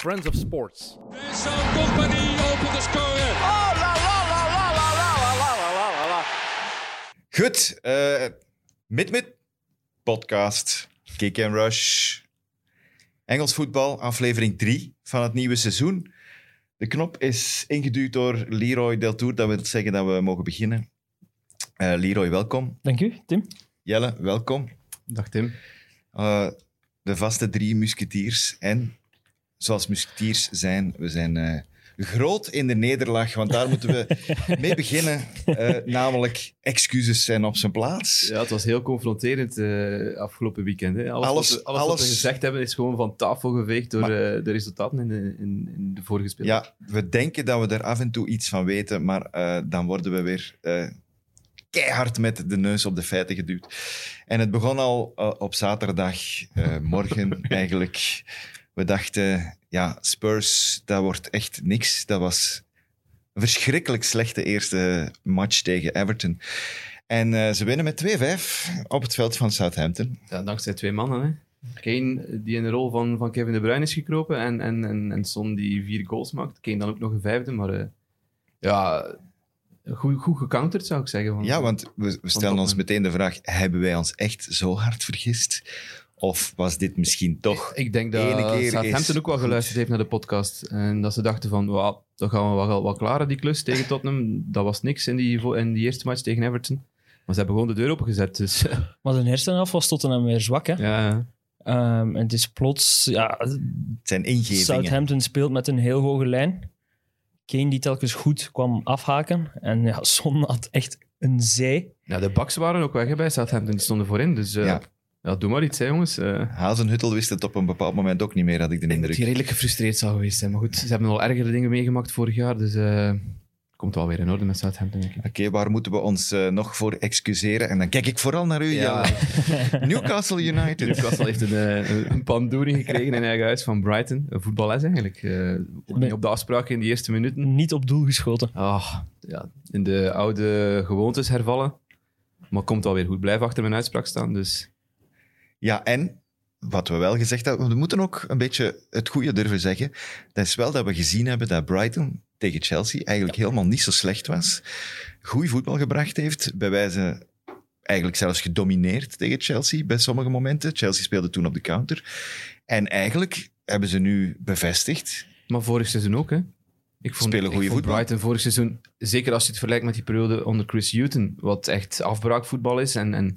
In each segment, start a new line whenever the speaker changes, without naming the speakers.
Friends of Sports.
Vincent Company opent de score. Oh, la la la la la la la la la la.
Goed, eh Mid-Mid podcast, Kick and Rush, Engels voetbal, aflevering 3 van het nieuwe seizoen. De knop is ingeduwd door Leroy Deltour, dat wil zeggen dat we mogen beginnen. Eh, Leroy, welkom.
Dank u, Tim.
Jelle, welkom.
Dag Tim.
Eh, de vaste drie musketiers. En zoals musketiers zijn, we zijn eh, groot in de nederlaag, want daar moeten we mee beginnen. Eh, namelijk, excuses zijn op zijn plaats.
Ja, het was heel confronterend eh, afgelopen weekend. Hè. Alles,
Alles-
wat, we- alles, wat
alles-
we gezegd hebben is gewoon van tafel geveegd door
Maar-
eh, de resultaten in de, in, in de vorige spelen.
Ja, we denken dat we er af en toe iets van weten, maar eh, dan worden we weer eh, keihard met de neus op de feiten geduwd. En het begon al eh, op zaterdag, eh, morgen eigenlijk. We dachten, ja, Spurs, dat wordt echt niks. Dat was een verschrikkelijk slechte eerste match tegen Everton. En eh, ze winnen met 2-5 op het veld van Southampton.
Ja, dankzij twee mannen. Hè. Kane eh, die in de rol van, van Kevin De Bruyne is gekropen en, en, en, en Son die vier goals maakt. Kane dan ook nog een vijfde, maar eh, ja, goed, goed gecounterd zou ik zeggen.
Ja, want we, we stellen ons
Tottenham.
meteen de vraag: hebben wij ons echt zo hard vergist? Of was dit misschien toch.
Ik denk
De ene
dat
keer
Southampton
is
ook wel
goed.
geluisterd heeft naar de podcast. En dat ze dachten van, "Wauw, dan gaan we wel, wel klaren die klus tegen Tottenham. Dat was niks in die, vo- in die eerste match tegen Everton. Maar ze hebben gewoon de deur opengezet. Dus,
Maar de eerste helft was Tottenham weer zwak. Hè?
ja.
Ehm, en het is plots... Ja,
Het zijn ingevingen.
Southampton speelt met een heel hoge lijn. Kane die telkens goed kwam afhaken. En ja, Son had echt een zee.
ja, de baks waren ook weg hè, bij Southampton. Die stonden voorin. Dus eh,
Ja.
ja. doe maar iets, hè, jongens. Eh,
Hazenhuttel wist het op een bepaald moment ook niet meer, had ik de
ik denk dat
indruk.
die redelijk gefrustreerd zou geweest zijn. Maar goed, ze hebben al ergere dingen meegemaakt vorig jaar. Dus eh, komt wel weer in orde met Southampton, denk ik.
Oké, waar moeten we ons eh, nog voor excuseren? En dan kijk ik vooral naar u,
Ja.
Jelle. Newcastle United.
Newcastle heeft een, eh, een pandoering gekregen in eigen huis van Brighton. Een voetballes eigenlijk. Eh, ook niet op de afspraak in de eerste minuten.
Niet op doel geschoten.
Ah, ja, in de oude gewoontes hervallen. Maar komt alweer goed. Blijf achter mijn uitspraak staan. Dus
Ja, en wat we wel gezegd hebben, we moeten ook een beetje het goede durven zeggen. Dat is wel dat we gezien hebben dat Brighton tegen Chelsea eigenlijk helemaal niet zo slecht was. Goed voetbal gebracht heeft, bij wijze eigenlijk zelfs gedomineerd tegen Chelsea bij sommige momenten. Chelsea speelde toen op de counter. En eigenlijk hebben ze nu bevestigd.
maar vorig seizoen ook, hè? Ik
Spelen
ik
goede
vond
voetbal.
Brighton vorig seizoen, zeker als je het vergelijkt met die periode onder Chris Hutton, wat echt afbraakvoetbal is. En, en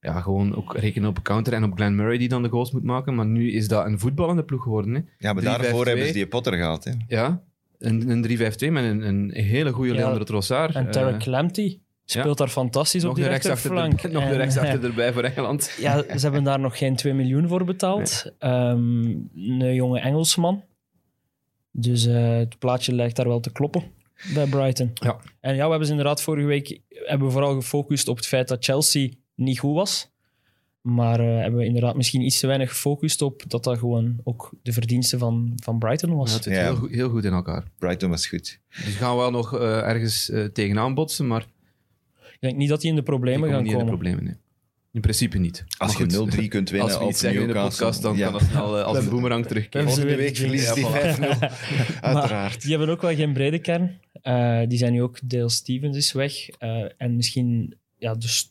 ja, gewoon ook rekenen op een counter en op Glenn Murray die dan de goals moet maken. Maar nu is dat een voetballende ploeg geworden, hè?
Ja, maar
3-5-2.
daarvoor hebben ze die Potter gehaald. Hè.
Ja, een, een 3-5-2 met een, een hele goede
Ja,
Leandro Trossard.
En
Eh,
Tarek Lamptey speelt daar fantastisch
nog
op die
de rechtsachter,
rechterflank.
er, nog de
En,
rechtsachter erbij voor Engeland.
Ja, ze hebben daar nog geen 2 miljoen voor betaald. Ehm, een jonge Engelsman. Dus eh, het plaatje lijkt daar wel te kloppen bij Brighton.
Ja.
En ja, we hebben ze inderdaad vorige week hebben we vooral gefocust op het feit dat Chelsea niet goed was. Maar eh, hebben we inderdaad misschien iets te weinig gefocust op dat dat gewoon ook de verdienste van, van Brighton was.
Ja, het zit
Ja.
Heel, goed- heel goed in elkaar.
Brighton was goed.
Dus gaan we wel nog eh, ergens eh, tegenaan botsen, maar
Ik denk niet dat die in de
die
problemen
komen
gaan
niet in de
komen.
problemen. nee. In principe niet.
Als
Maar goed,
je 0-3 kunt winnen
als we
op
iets zeggen in de
Newcastle,
podcast, dan
ja.
kan dat snel eh, als een boemerang terugkeren.
Hebben ze
Volgende
weer
week
de jinx.
verliezen die 5-0. Uiteraard.
Die hebben ook wel geen brede kern. Eh, die zijn nu ook, Dale Stevens is weg. Eh, en misschien ja, de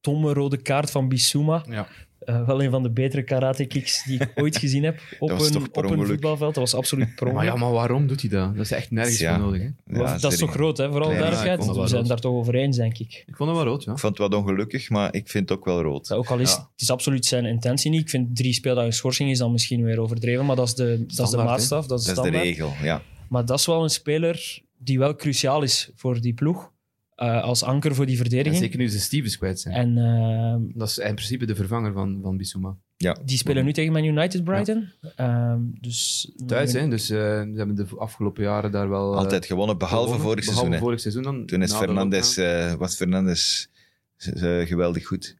stomme rode kaart van Bissouma.
Ja.
Eh, wel een van de betere karate kicks die ik ooit gezien heb op,
was
een,
toch per
op een
ongeluk?
voetbalveld. Dat was absoluut per
Maar
ongeluk.
ja, maar waarom doet hij dat? Dat is echt nergens
Ja.
voor nodig. Hè?
Ja,
Maar dat is toch
serieus.
groot, hè? Vooral
Ja,
ik vond
duidelijkheid.
dat
We
wel
zijn
rood.
daar toch over eens, denk ik.
Ik vond hem wel rood, ja.
Ik vond het wat ongelukkig, maar ik vind het ook wel rood.
Ook al is
Ja.
het is absoluut zijn intentie niet. Ik vind drie speeldagen schorsing is dan misschien weer overdreven. Maar dat is de, dat is de
Standaard, hè?
maatstaf, dat is de
Dat is de
standaard.
regel, ja.
Maar dat is wel een speler die wel cruciaal is voor die ploeg. eh, als anker voor die
En
verdediging.
zeker nu ze Stevens kwijt zijn.
En eh,
Dat is in principe de vervanger van, van Bissouma.
die
Mhm.
spelen nu tegen Man United Brighton. Ehm, dus
Thuis, hè? Dus eh, ze hebben de afgelopen jaren daar wel... eh,
Altijd gewonnen, behalve
gewonnen.
vorig
Behalve
seizoen. hè.
vorig seizoen dan.
Toen is
na de
Fernandes,
lockdown.
eh, was Fernandes eh, geweldig goed.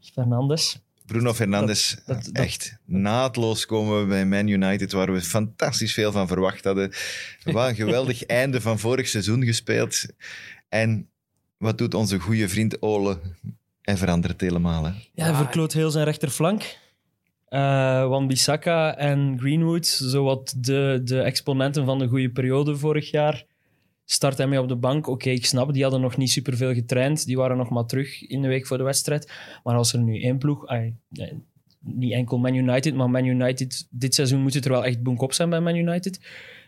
Fernandes.
Bruno Fernandes,
dat- dat-
echt naadloos komen we bij Man United, waar we fantastisch veel van verwacht hadden. Wat een geweldig einde van vorig seizoen gespeeld. En wat doet onze goede vriend Ole? Hij verandert helemaal. Hè.
Ah.
Ja, hij verkloot heel zijn rechterflank. Eh, Eh, Wan Bissaka en Greenwood, zowat de, de exponenten van de goede periode vorig jaar. Start hij mee op de bank. Oké, ik snap, die hadden nog niet superveel getraind. Die waren nog maar terug in de week voor de wedstrijd. Maar als er nu één ploeg... ai, eh, niet enkel Man United, maar Man United... Dit seizoen moet het er wel echt bonk op zijn bij Man United.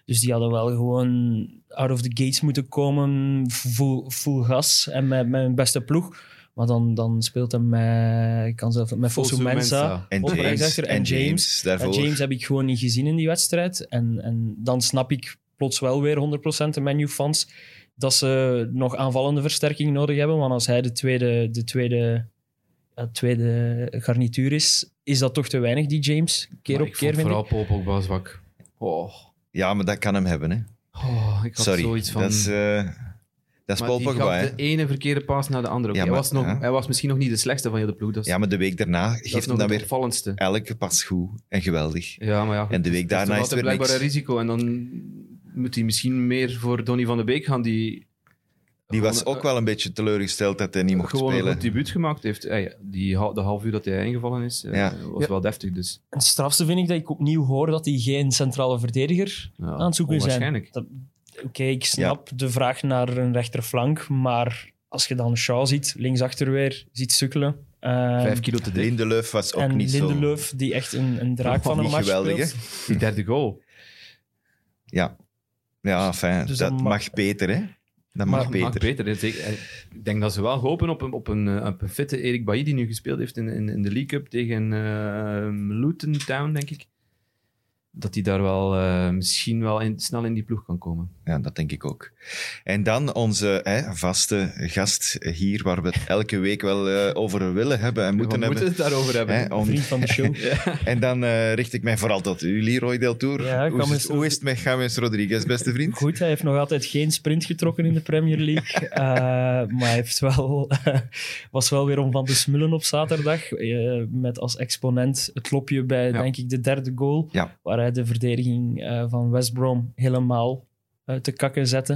Dus die hadden wel gewoon out of the gates moeten komen. Full, full gas en met, met hun beste peg. Maar dan, dan speelt hij met... Ik kan zelf, met Fosu Mensa.
En
Op
James,
rechtsachter en
en James
James.
daarvoor.
En James heb ik gewoon niet gezien in die wedstrijd. En, en dan snap ik plots wel weer 100% de menu fans dat ze nog aanvallende versterking nodig hebben. Want als hij de tweede, de tweede, ja, tweede garnituur is, is dat toch te weinig, die James. Keer
Maar
op
ik
keer,
vond
vind ik.
vooral Paul Pogba zwak. Oh,
Ja, maar dat kan hem hebben, hè.
oh, ik had
Sorry.
zoiets van...
Dat is, eh dat is
Maar
Paul
die
Pogba,
gaf
hè.
de ene verkeerde paas naar de andere. Oké,
Ja,
hij,
maar-
was nog,
ja.
hij was misschien nog niet de slechtste van heel de ploeg. Dat is,
Ja, maar de week daarna
dat is
geeft hem
nog
dan
het
weer
opvallendste.
elke pas goed en geweldig.
Ja, maar ja. goed.
En de week
Het is
daarna
toch
is het
altijd
weer
blijkbaar
niks.
een risico. En dan moet hij misschien meer voor Donny van de Beek gaan, die...
Die was
gewoon-
ook wel een beetje teleurgesteld dat hij niet mocht
gewoon een
spelen.
goed debuut gemaakt heeft. Hey, die, ha- de half uur dat hij ingevallen is, eh,
Ja.
was
Ja.
wel deftig. Dus,
En het strafste vind ik dat ik opnieuw hoor dat hij geen centrale verdediger
ja,
aan het zoeken zijn.
onwaarschijnlijk.
Dat- Oké, ik snap de vraag naar een rechterflank, maar als je dan Shaw ziet, linksachter weer, ziet sukkelen. ehm,
Vijf kilo te dik.
Lindelöf was ook
en
niet zo...
Lindelöf, die echt een, een draak van een
niet
match
geweldig,
speelt.
hè?
Die derde goal.
Ja, fijn.
Dus
dat
dat
mag,
mag-
beter, hè. Dat mag
Maar
beter.
maakt beter. hè. Zeker. En Ik denk dat ze wel hopen op een, op een, eh, op een fitte Erik Bailly, die nu gespeeld heeft in, in, in de League Cup tegen eh, Luton Town, denk ik. Dat hij daar wel eh, misschien wel in, snel in die ploeg kan komen.
Ja, dat denk ik ook. En dan onze hè, vaste gast hier, waar we het elke week wel eh, over willen hebben en moeten
We
hebben.
moeten het daarover hebben.
Hè, om-
Vriend van de show.
En dan eh, richt ik mij vooral tot u, Leroy Del Tour.
Ja,
hoe, is
James-
het, hoe is het met James Rodriguez, beste vriend?
Goed, hij heeft nog altijd geen sprint getrokken in de Premier League. eh, maar hij heeft wel, was wel weer om van te smullen op zaterdag. eh, met als exponent het lopje bij,
Ja.
denk ik, de derde goal.
Ja.
Waar hij de verdediging eh, van West Brom helemaal eh, te kakken zette.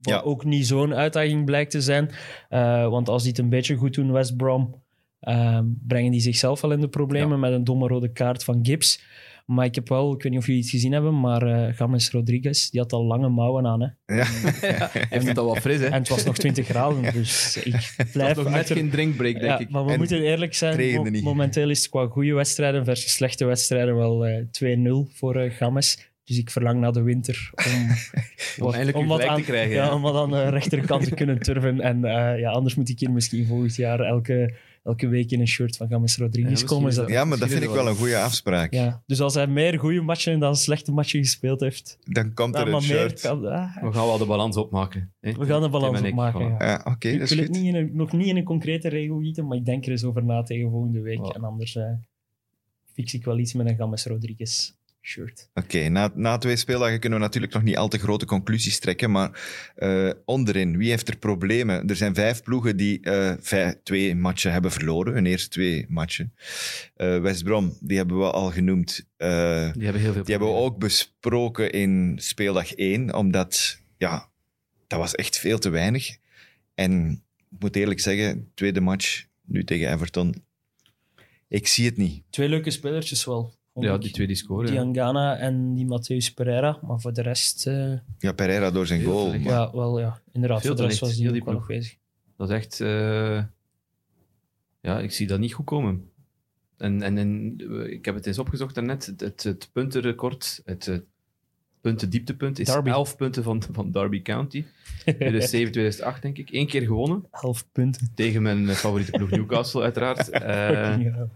Wat
Ja.
ook niet zo'n uitdaging blijkt te zijn. Eh, want als die het een beetje goed doen, West Brom, eh, brengen die zichzelf wel in de problemen met een domme rode kaart van Gibbs. Maar ik heb wel, ik weet niet of jullie iets gezien hebben, maar eh James Rodriguez, die had al lange mouwen aan. Hè?
Ja.
Hij heeft het al wel fris, hè?
En het was nog 20 graden, dus ik
Het
blijf
was nog net
achter-
geen drinkbreak, denk
Ja,
ik.
maar we
En
moeten eerlijk zijn,
trainde
mo-
niet.
momenteel is het qua goede wedstrijden versus slechte wedstrijden wel eh, 2-0 voor eh James. Dus ik verlang naar de winter om, wat-
eindelijk weer gelijk
aan,
te krijgen,
Ja,
ja.
om wat aan de rechterkant te kunnen turven. En eh, ja, anders moet ik hier misschien volgend jaar elke, elke week in een shirt van James
Ja,
Rodriguez
misschien
komen.
is
Is dat,
ja, maar dat vind ik wel een goede afspraak.
ja. Dus als hij meer goede matchen dan slechte matchen gespeeld heeft,
Dan komt
dan
er een
maar meer
shirt.
kan, ah,
We gaan wel de balans opmaken. hè.
we gaan de balans
Tim en ik,
opmaken.
voilà.
ja.
Ja, Oké,
Ik
dat
wil
is goed.
het niet in een- nog niet in een concrete regel gieten, maar ik denk er eens over na tegen volgende week.
Ja.
En anders eh, fix ik wel iets met een Games Rodriguez shirt.
Oké, na, na twee speeldagen kunnen we natuurlijk nog niet al te grote conclusies trekken, maar eh, onderin, wie heeft er problemen? Er zijn vijf ploegen die eh, vij- twee matchen hebben verloren, hun eerste twee matchen. Eh West Brom, die hebben we al genoemd. Eh,
Die hebben heel veel
die hebben we
problemen.
ook besproken in speeldag 1, omdat, ja, dat was echt veel te weinig. En ik moet eerlijk zeggen, tweede match, nu tegen Everton, ik zie het niet.
Twee leuke spelertjes wel. vond
Ja,
ik.
die twee die scoren.
Die
ja.
Angana en die Matthäus Pereira. Maar voor de rest, eh,
Ja, Pereira door zijn
Heel
goal.
terecht.
maar-
ja, wel, ja. inderdaad,
Veel
voor de
talent,
rest was die
heel
ook
die
wel nog
ploeg.
bezig.
Dat is echt... eh, ja, ik zie dat niet goed komen. En, en, en eh, ik heb het eens opgezocht daarnet. Het, het, het puntenrecord, het, eh, puntendieptepunt, is
Derby.
11 punten van, van Derby County. 2007, 2008 denk ik. Eén keer gewonnen.
Elf punten.
Tegen mijn eh, favoriete ploeg Newcastle, uiteraard. Eh,
Fucking hell.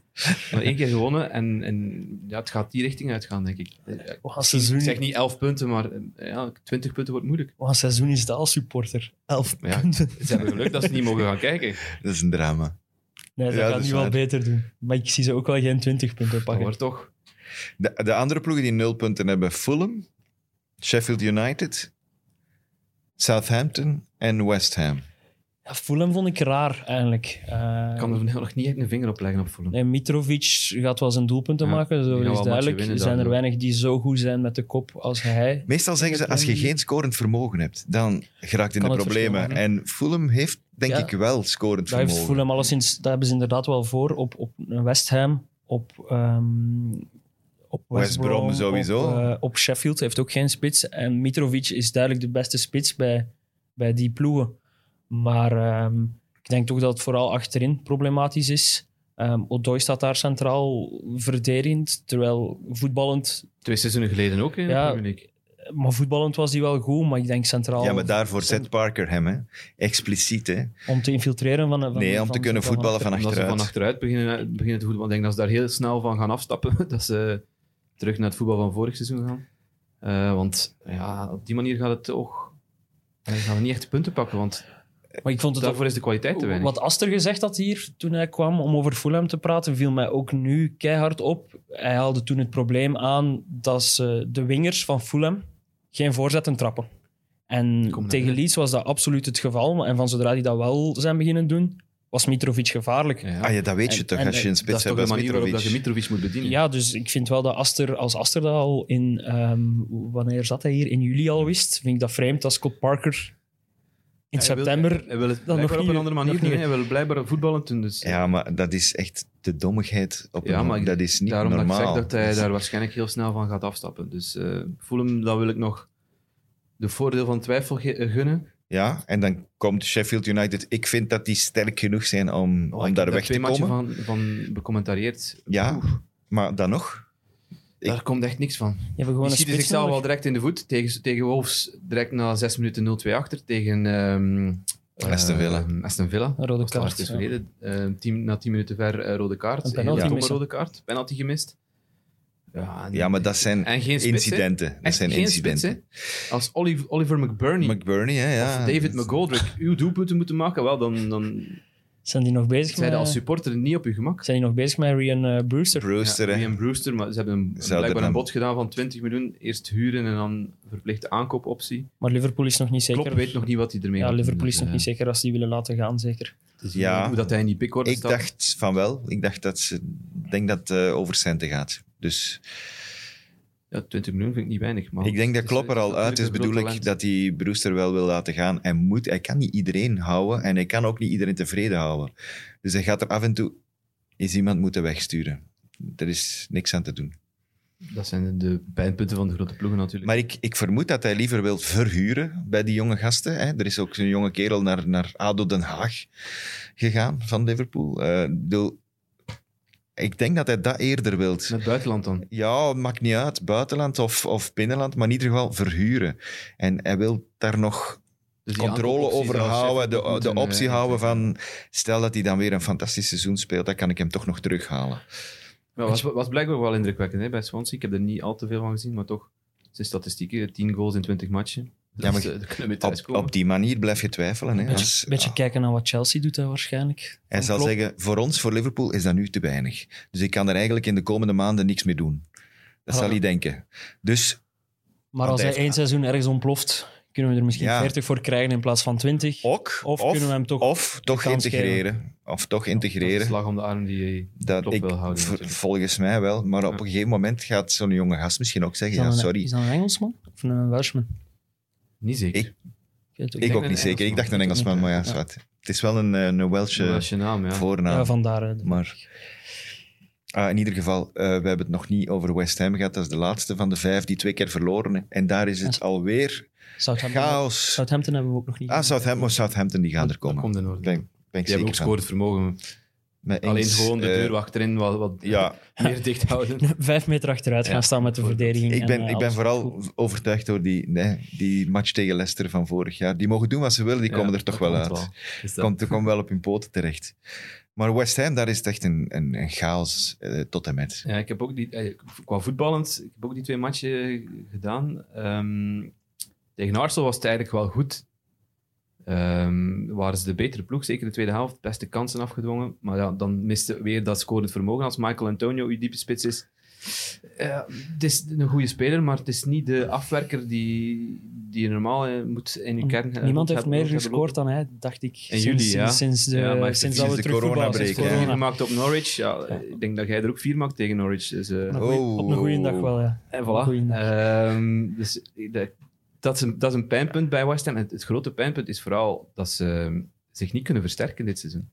maar één keer gewonnen. En, en ja, het gaat die richting uitgaan, denk ik. Eh, ja,
Wat een
Ik
seizoen,
zeg niet 11 punten, maar eh, ja, 20 punten wordt moeilijk.
wat een seizoen is dat als supporter. Elf
Ja.
punten.
Ze hebben geluk dat ze niet mogen gaan kijken.
Dat is een drama.
Nee, ze
Ja,
gaan
dat is
nu wel
waar.
beter doen. Maar ik zie ze ook wel geen 20 punten
Maar
pakken.
wordt toch.
De, de andere ploegen die nul punten hebben, Fulham, Sheffield United, Southampton en West Ham.
Ja, Fulham vond ik raar, eigenlijk. Eh,
Ik kan er nog niet echt een vinger op leggen op Fulham.
Nee, Mitrovic gaat wel zijn doelpunten
Ja,
maken,
die
zo
gaan wel
is
matchen
duidelijk.
winnen
er
dan,
zijn er
ja.
weinig die zo goed zijn met de kop als hij.
Meestal zeggen ze, als je geen scorend vermogen hebt, dan geraakt in
Kan
de
het verschil
problemen. En Fulham heeft, denk
Ja.
ik, wel scorend
Daar, heeft
vermogen.
Fulham alleszins, daar hebben ze inderdaad wel voor op, op een West Ham. op, ehm, op West,
West Brom sowieso.
Op, eh, op Sheffield heeft ook geen spits. En Mitrovic is duidelijk de beste spits bij, bij die ploegen. Maar ehm, ik denk toch dat het vooral achterin problematisch is. Ehm Odoi staat daar centraal verdedigend, terwijl voetballend...
Twee seizoenen geleden ook in
Ja.
de Premier League.
Maar voetballend was hij wel goed, maar ik denk centraal
Ja, maar daarvoor
Soms-
zet Parker hem, hè. Expliciet, hè.
om te infiltreren van... van
Nee, om
van-
te kunnen
van-
voetballen van
Omdat ze van
achteruit.
achteruit beginnen, eh, beginnen te voetballen. Ik denk dat ze daar heel snel van gaan afstappen. Dat ze terug naar het voetbal van vorig seizoen gaan. Eh, want ja, op die manier gaat het toch... eh, gaan we niet echt punten pakken, want
Maar ik vond het ook
daarvoor is de kwaliteit te weinig.
Wat Aster gezegd had hier toen hij kwam om over Fulham te praten, viel mij ook nu keihard op. Hij haalde toen het probleem aan dat ze de wingers van Fulham geen voorzetten trappen. En
Kom dan,
tegen
hè.
Leeds was dat absoluut het geval. En van zodra die dat wel zijn beginnen doen, was Mitrovic gevaarlijk.
Ja,
Ah ja, dat weet je
En-
toch,
en-
als je een
dat
spits
is toch
hebt
de
als
manier waarop dat je
Mitrovic.
Mitrovic moet bedienen.
Ja, dus ik vind wel dat Aster, als Aster dat al in, ehm, wanneer zat hij hier, in juli al wist, vind ik dat vreemd dat Scott Parker in
Hij wil-
september...
hij wil het
nog
blijkbaar op
niet-
een andere manier
nog
doen.
niet.
hè. Hij wil blijkbaar voetballen doen. Dus
Ja, maar dat is echt de dommigheid op
Ja,
een
maar ik-
Dat is niet
daarom dat ik
normaal. Dus-
zeg dat hij daar waarschijnlijk heel snel van gaat afstappen. Dus eh voel hem, dat wil ik nog de voordeel van twijfel ge- eh, gunnen.
Ja, en dan komt Sheffield United. Ik vind dat die sterk genoeg zijn om,
Oh,
om
ik heb
daar weg te
twee
komen.
matchen van, van becommentarieerd.
Ja, maar dan nog.
Daar komt echt niks van.
Je hebt gewoon
Die
een
schieten
spits
zichzelf
nodig.
wel direct in de voet. Tegen, tegen Wolves direct na 6 minuten 0-2 achter. Tegen ehm, eh,
Aston Villa.
Aston Villa.
Een rode
Dat was
kaart,
daar dus
ja.
geleden. Eh, tien- na 10 minuten ver eh, rode kaart.
Een penalty
Heel domme
missen.
rode kaart. Penalty gemist. Ja, en-
Ja, maar dat zijn
en geen spits, hè.
incidenten. Dat
Echt
zijn
geen spits,
incidenten.
hè. Als Olive- Oliver McBurney
McBurney, hè, ja.
of David McGoldrick uw doelpunten moeten maken, wel, dan, dan
Zijn die nog bezig
zijn
met...
je als supporter niet op je gemak.
Zijn die nog bezig met Rian eh, Brewster?
Brewster,
ja,
hè.
Ian Brewster, maar ze hebben een,
Zouden
blijkbaar
dan-
een bod gedaan van 20 miljoen. Eerst huren en dan verplichte aankoopoptie.
Maar Liverpool is nog niet zeker.
Klopp weet nog niet wat hij ermee
ja,
gaat doen,
Liverpool is
dus,
nog
eh,
niet zeker als die willen laten gaan, zeker.
dus
Ja.
Hoe dat hij in die pickorde
Ik
staat.
dacht van wel. Ik dacht dat ze... ik denk dat het eh, over centen gaat. Dus
Ja, 20 miljoen vind ik niet weinig. Maar
ik denk dat Klopp er al uit is, bedoel ik, dat hij Brewster wel wil laten gaan. En moet, hij kan niet iedereen houden en hij kan ook niet iedereen tevreden houden. Dus hij gaat er af en toe eens iemand moeten wegsturen. Er is niks aan te doen.
Dat zijn de pijnpunten van de grote ploegen natuurlijk.
Maar ik, ik vermoed dat hij liever wil verhuren bij die jonge gasten. Hè. Er is ook zo'n jonge kerel naar, naar ADO Den Haag gegaan van Liverpool. Eh, ik bedoel, ik denk dat hij dat eerder wilt.
Met het buitenland dan.
Ja, maakt niet uit. Buitenland of, of binnenland, maar in ieder geval verhuren. En hij wil daar nog
Dus die
controle
aankoopopties
over
als Sheffield
houden. De,
moeten,
de
eh,
optie houden van, stel dat hij dan weer een fantastisch seizoen speelt, dan kan ik hem toch nog terughalen.
Ja, was, was blijkbaar wel indrukwekkend hè, bij Swansea. Ik heb er niet al te veel van gezien, maar toch. Zijn statistieken, 10 goals in 20 matchen.
Ja, maar
dat, is, eh, daar kunnen we
Op,
thuiskomen.
op die manier blijf je twijfelen. Hè.
Een beetje,
Als-
beetje kijken naar wat Chelsea doet, hè, waarschijnlijk.
ah. Hij
Van
zal
Klopp.
zeggen, voor ons, voor Liverpool, is dat nu te weinig. Dus ik kan er eigenlijk in de komende maanden niks mee doen. Dat
Ah.
zal hij denken. Dus,
Maar
want
als
hij
hij één
heeft-
seizoen ergens ontploft, kunnen we er misschien
Ja.
40 voor krijgen in plaats van 20.
ook,
Of kunnen we hem toch
of toch
kans geven.
integreren. Of toch
Dat is de
integreren.
slag om de arm die je
Dat
Klopp
ik,
wil houden,
v-
natuurlijk.
volgens mij wel, maar op
Ja.
een gegeven moment gaat zo'n jonge gast misschien ook
Is
zeggen:
dat
Ja,
een-
sorry.
Is dat een Engelsman of een eh, Welshman?
niet zeker.
Ik-
Ik weet het ook
Ik
niet.
ook
een
niet zeker. Ik dacht een
Engelsman.
Engelsman, maar ja,
Ja.
zwart. Het is wel een, eh, een Welsh
Een
eh,
Welsh naam, ja.
voornaam.
Ja, vandaar. eh, de-
Maar ah, in ieder geval, eh, we hebben het nog niet over West Ham gehad. Dat is de laatste van de vijf die twee keer verloren. hè. En daar is het
Ja.
alweer
Southampton,
chaos.
Southampton hebben we ook nog niet.
Ah, Southampton, maar Southampton die gaan er
Dat
komen.
komt in orde.
Ben, ben ik
Die hebben
zeker
ook
van.
scorend vermogen.
Met
Alleen
Ings,
gewoon de
eh,
deur achterin wat, wat
Ja,
meer dicht houden.
Vijf meter achteruit
Ja.
gaan staan met de verdediging.
ik
en,
ben,
eh,
ik ben
alles
vooral
goed.
overtuigd door die, nee, die match tegen Leicester van vorig jaar. Die mogen doen wat ze willen, die komen
Ja,
er toch
dat
wel uit.
komt Dus dat-
Komt, die komen wel op hun poten terecht. Maar West Ham, daar is het echt een, een, een chaos eh, tot en met.
Ja, ik heb ook die, eh, qua voetballend, ik heb ook die twee matchen eh, gedaan. Ehm, tegen Arsenal was het eigenlijk wel goed. Ehm, waren ze de betere ploeg, zeker de tweede helft, beste kansen afgedwongen. Maar ja, dan miste weer dat scorend vermogen als Michael Antonio uw diepe spits is. Eh, het is een goede speler, maar het is niet de afwerker die, die je normaal eh, moet in je kern eh,
Niemand heeft
hebben-
meer
hebben
gescoord dan hij, dacht ik.
In
sinds-
juli, ja.
Sinds, sinds, de,
Ja, maar
sinds
sinds
dat we
de
terug voetballen,
coronabreak,
sinds
hè.
Vier
corona.
gemaakt op Norwich. Ja, ik denk dat jij er ook vier maakt tegen Norwich. Dus, eh,
Op een
Oh.
goeie- Op een goede dag wel, ja.
En
Op een
voilà.
goeie dag.
Ehm, dus de- dat is, een, dat is een pijnpunt bij West Ham. Het, het grote pijnpunt is vooral dat ze ehm, zich niet kunnen versterken dit seizoen.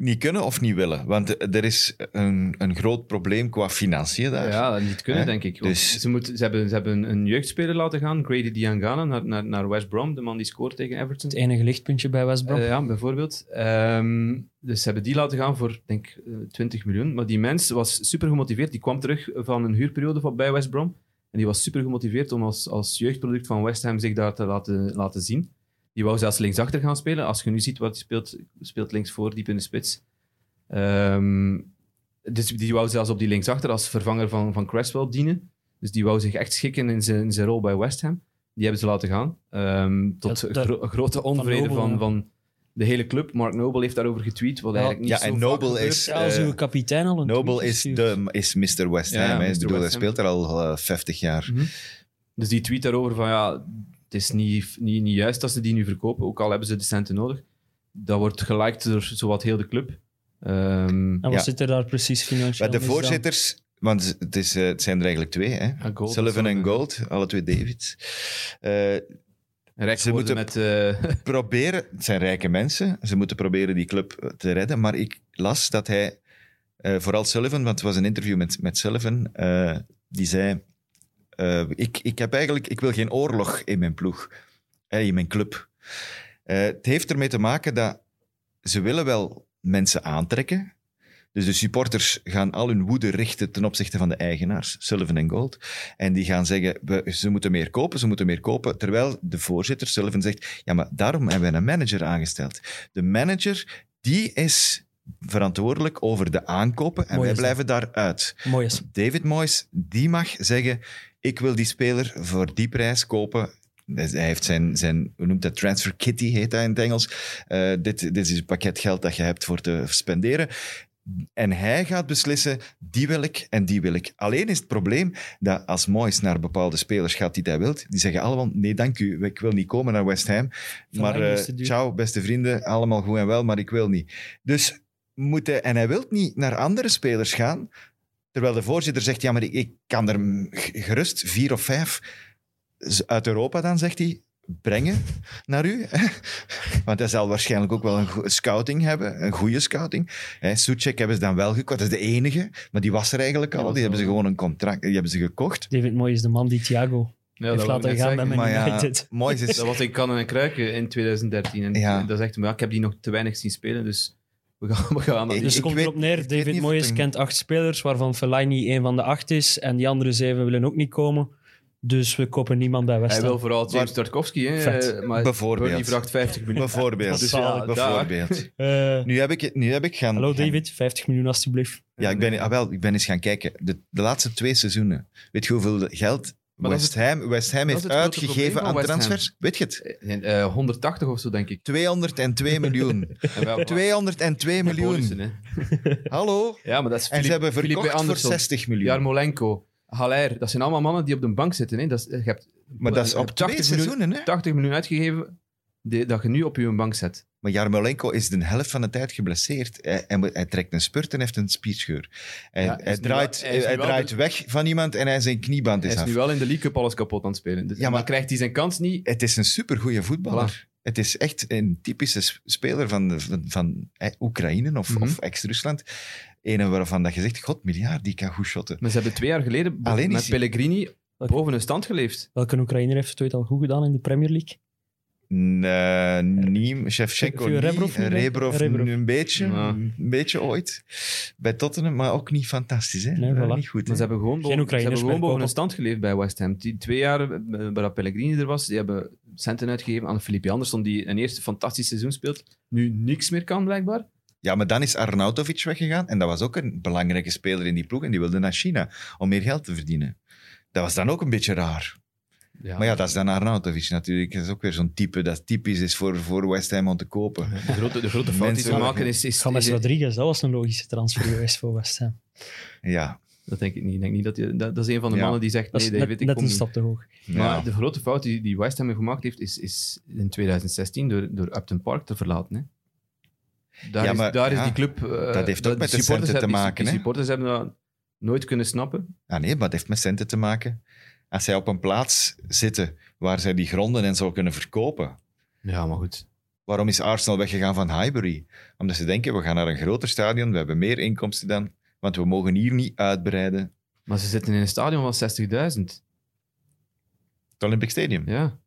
niet kunnen of niet willen. Want eh, er is een, een groot probleem qua financiën daar.
Ja, dat niet kunnen,
Hè?
denk ik. Want
Dus-
Ze, moeten, ze, hebben, ze hebben een jeugdspeler laten gaan, Grady Diangana, naar, naar, naar West Brom, de man die scoort tegen Everton.
Het enige lichtpuntje bij West Brom.
Eh, ja, bijvoorbeeld. Ehm, dus ze hebben die laten gaan voor, denk ik, eh, 20 miljoen. Maar die mens was super gemotiveerd. Die kwam terug van een huurperiode van, bij West Brom. En die was super gemotiveerd om als, als jeugdproduct van West Ham zich daar te laten, laten zien. Die wou zelfs linksachter gaan spelen. Als je nu ziet wat hij speelt, speelt links voor, diep in de spits. Ehm, dus die wou zelfs op die linksachter als vervanger van, van Cresswell dienen. Dus die wou zich echt schikken in zijn, in zijn rol bij West Ham. Die hebben ze laten gaan. Ehm, tot
Dat- dat-
gro- grote onvrede
Noble,
van,
ja.
van de hele club. Mark Noble heeft daarover getweet, wat
Ja.
eigenlijk
Ja,
niet zo
en
vaak
Noble
gebeurt.
is,
Ja, als
eh,
uw kapitein al een
Noble
tweet
is,
stuurt.
de, is Mr. West Ham.
Ja,
hè.
Mr.
Ik
West
bedoel, hij
Ham.
speelt er al eh, 50 jaar.
Mhm. Dus die tweet daarover van ja, het is niet, niet, niet juist dat ze die nu verkopen, ook al hebben ze de centen nodig. Dat wordt geliked door zowat heel de club. Ehm,
En wat
Ja.
zit er daar precies financieel
Maar de
mis dan?
voorzitters, want z- het, is, eh, het zijn er eigenlijk twee, hè?
Ja, Gold
Sullivan
is
en
wel-
Gold, alle twee Davids. Eh,
rijk
Ze
worden
moeten-
met... eh,
proberen, het zijn rijke mensen, ze moeten proberen die club eh, te redden. Maar ik las dat hij, eh, vooral Sullivan, want het was een interview met, met Sullivan, eh, die zei: eh, ik, ik, heb eigenlijk, ik wil geen oorlog in mijn ploeg, eh, in mijn club. Eh, het heeft ermee te maken dat ze willen wel mensen aantrekken. Dus de supporters gaan al hun woede richten ten opzichte van de eigenaars, Sullivan en Gold. En die gaan zeggen, we, ze moeten meer kopen, ze moeten meer kopen. Terwijl de voorzitter, Sullivan, zegt, ja, maar daarom hebben wij een manager aangesteld. De manager, die is verantwoordelijk over de aankopen en
Mooi
wij
is dat.
blijven daaruit.
Mooi is.
David Moyes, die mag zeggen: Ik wil die speler voor die prijs kopen. Dus Hij heeft zijn, zijn, hoe noemt dat, transfer kitty, heet dat in het Engels. Eh, dit, dit is een pakket geld dat je hebt voor te spenderen. En hij gaat beslissen, die wil ik en die wil ik. Alleen is het probleem dat als Moyes naar bepaalde spelers gaat die hij wilt, die zeggen allemaal, nee dank u, ik wil niet komen naar West Ham. Maar
mij is
eh,
te duur.
ciao, beste vrienden, allemaal goed en wel, maar ik wil niet. Dus moet hij, en hij wil niet naar andere spelers gaan, Terwijl de voorzitter zegt, ja, maar ik, ik kan er mm, g- gerust vier of vijf z- uit Europa dan, zegt hij, brengen naar u. Want hij zal waarschijnlijk ook wel een goe- scouting hebben, een goede scouting. Hè, Suchek hebben ze dan wel gekocht, dat is de enige, maar die was er eigenlijk
Die
al.
was
Die
er
hebben ze
al.
gewoon een contract, die hebben ze gekocht.
David Moyes is de man die Thiago
ja,
heeft
dat, wou ik
laten
net
gaan bij
zeggen.
Man
Maar ja,
United.
mooi is
dat was in Kannen en Kruiken in 2013. En
Ja.
dat zegt hem, ja, ik heb die nog te weinig zien spelen, dus we gaan, we gaan dat niet.
Ik-
Dus het
ik
komt
weet-
erop
ik
neer,
weet niet
David
of het
Moyes
een-
kent acht spelers, waarvan Fellaini een van de acht is, en die andere zeven willen ook niet komen. Dus we kopen niemand bij West
Hij wil
Ham.
vooral James
Maar-
Tarkovsky, hè,
Vet.
eh, maar
Bijvoorbeeld.
die vraagt 50 miljoen.
Bijvoorbeeld.
Dus ja,
bijvoorbeeld.
Eh,
Nu heb ik, nu heb ik gaan...
hallo
gaan-
David, 50 miljoen alstublieft.
Ja, ik ben, ah, wel, ik ben eens gaan kijken. De, de laatste twee seizoenen. Weet je hoeveel geld
Maar dat is
West Ham, West Ham
dat is
heeft
het grote
uitgegeven
probleem van
aan
West Ham.
transfers? Weet je het?
Eh, eh, 180 of zo, denk ik.
202 miljoen.
En wel-
202
Bonussen,
miljoen.
hè.
Hallo?
Ja, maar dat is
En ze
Filip-
hebben
Filipe
verkocht voor
Andersson,
60 miljoen.
Jarmolenko, Haller. Dat zijn allemaal mannen die op de bank zitten. Hè. Dat is, je hebt
Maar dat is op
80
twee
miljoen-
seizoenen, hè?
80 miljoen uitgegeven die, dat je nu op je bank zet.
Maar Jarmolenko is de helft van de tijd geblesseerd. Hij, hij moet- hij trekt een spurt en heeft een spierscheur. Hij,
Ja, hij is
hij
nu
draait,
wel- hij is nu
hij
wel
draait
de-
weg van iemand en hij zijn knieband
Hij
is
is nu
af.
wel in de League Cup alles kapot aan het spelen. Dus,
Ja,
ja, maar
maar-
krijgt hij zijn kans niet.
Het is een supergoeie voetballer. Het is echt een typische s- speler van, de- van, van eh, Oekraïne of,
Mhm.
of ex-Rusland. Ene waarvan dat je zegt, god miljard, die kan goed shotten.
Maar ze hebben twee jaar geleden bo-
Alleen
met
is hij-
Pellegrini
Oké.
boven een stand geleefd.
Welke Oekraïner heeft het ooit al goed gedaan in de Premier League?
Nee, niet, Shevchenko
Viel
niet,
Rebrov niet
Rebrov,
mee? Rebrov.
een beetje,
Ja.
een beetje ooit. Bij Tottenham, maar ook niet fantastisch. Hè?
Nee,
Ja,
voilà.
Niet goed.
Maar
hè.
ze hebben gewoon boven, ze
Oekraïners
hebben
meer
gewoon boven
kopen.
een stand geleefd bij West Ham. Die twee jaar eh, waar dat Pellegrini er was, die hebben centen uitgegeven aan Filipe Andersson, die een eerste fantastisch seizoen speelt. Nu niks meer kan, blijkbaar.
Ja, maar dan is Arnautovic weggegaan en dat was ook een belangrijke speler in die ploeg en die wilde naar China om meer geld te verdienen. Dat was dan ook een beetje raar. Maar ja, dat is dan Arnautovic natuurlijk. Dat is ook weer zo'n type dat typisch is voor, voor West Ham om te kopen.
De grote, de grote fout die
Mensen-
ze maken is... is,
James
is-
Rodriguez, dat was een logische transfer geweest voor West Ham.
Ja.
dat denk ik niet. Ik denk niet dat, je, dat, dat is een van de
Ja.
mannen die zegt,
Dat is
nee David,
net,
ik
net
kom
een
niet.
stap te hoog.
Maar
ja.
de grote fout die, die West Ham gemaakt heeft, is, is in 2016 door, door Upton Park te verlaten. Hè. Daar,
Ja, maar-
is, daar
ja.
is die club... eh,
Dat heeft ook
die
met de
supporters
centen te
hebben- die-
maken,
Die
hè.
supporters hebben dat nooit kunnen snappen.
Ah nee, maar het heeft met centen te maken. Als zij op een plaats zitten waar zij die gronden en zo kunnen verkopen,
Ja, maar goed.
Waarom is Arsenal weggegaan van Highbury? Omdat ze denken, we gaan naar een groter stadion, we hebben meer inkomsten dan, want we mogen hier niet uitbreiden.
Maar ze zitten in een stadion van 60.000.
Het Olympic Stadium.
Ja.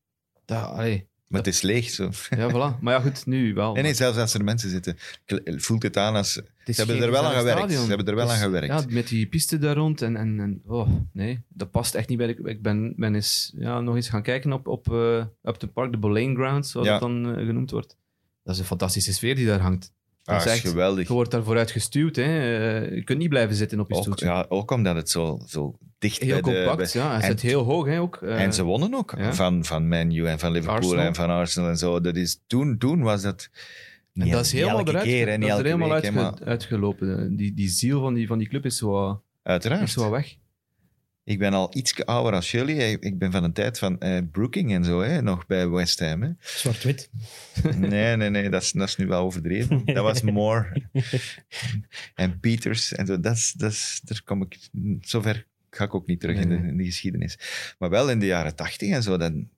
Da, allee.
Maar het is leeg zo.
Ja, voilà. Maar ja, goed, nu wel.
Nee, nee, zelfs als er mensen zitten, kle- voelt het aan als... Ze
Het is
hebben
geen
er wel aan
gezellig
gewerkt.
stadion.
Ze hebben er wel
Dus,
aan gewerkt.
Ja, met die piste daar rond en... en, en oh, nee, dat past echt niet bij de... Ik ben, ben eens, ja, nog eens gaan kijken op, op eh Upton Park, de Boleyn Grounds, zoals
Ja.
het dan eh, genoemd wordt. Dat is een fantastische sfeer die daar hangt.
Ah,
dat is
is
echt-
geweldig.
Je wordt daar vooruit gestuurd, hè. Eh, je kunt niet blijven zitten op je
Ook,
stoeltje.
ja, ook omdat het zo, zo dicht
Heel
bij de- bij-
compact, ja. Hij
en-
zit heel hoog, hè, ook. Eh,
En ze wonnen ook
ja.
van, van Man U en van Liverpool
Arsenal.
en van Arsenal en zo. Dat is, toen, toen was dat...
En
niet-
dat is
niet
helemaal
elke
eruit,
keer, hè,
dat
niet
is er
elke
helemaal
week, hè,
uitge-
maar
uitgelopen. Die, die ziel van die, van die club is zo, wat-
Uiteraard.
is zo wat weg.
Ik ben al iets ouder als jullie. Ik ben van een tijd van eh, Brooking en zo, hè, nog bij West Ham. Hè.
Zwart-wit.
Nee, nee, nee, dat is, dat is nu wel overdreven. Dat was Moore en Peters en zo. Dat is, dat is, daar kom ik, zover ga ik ook niet terug in, de,
Nee, nee.
in de geschiedenis. Maar wel in de jaren tachtig en zo, dan,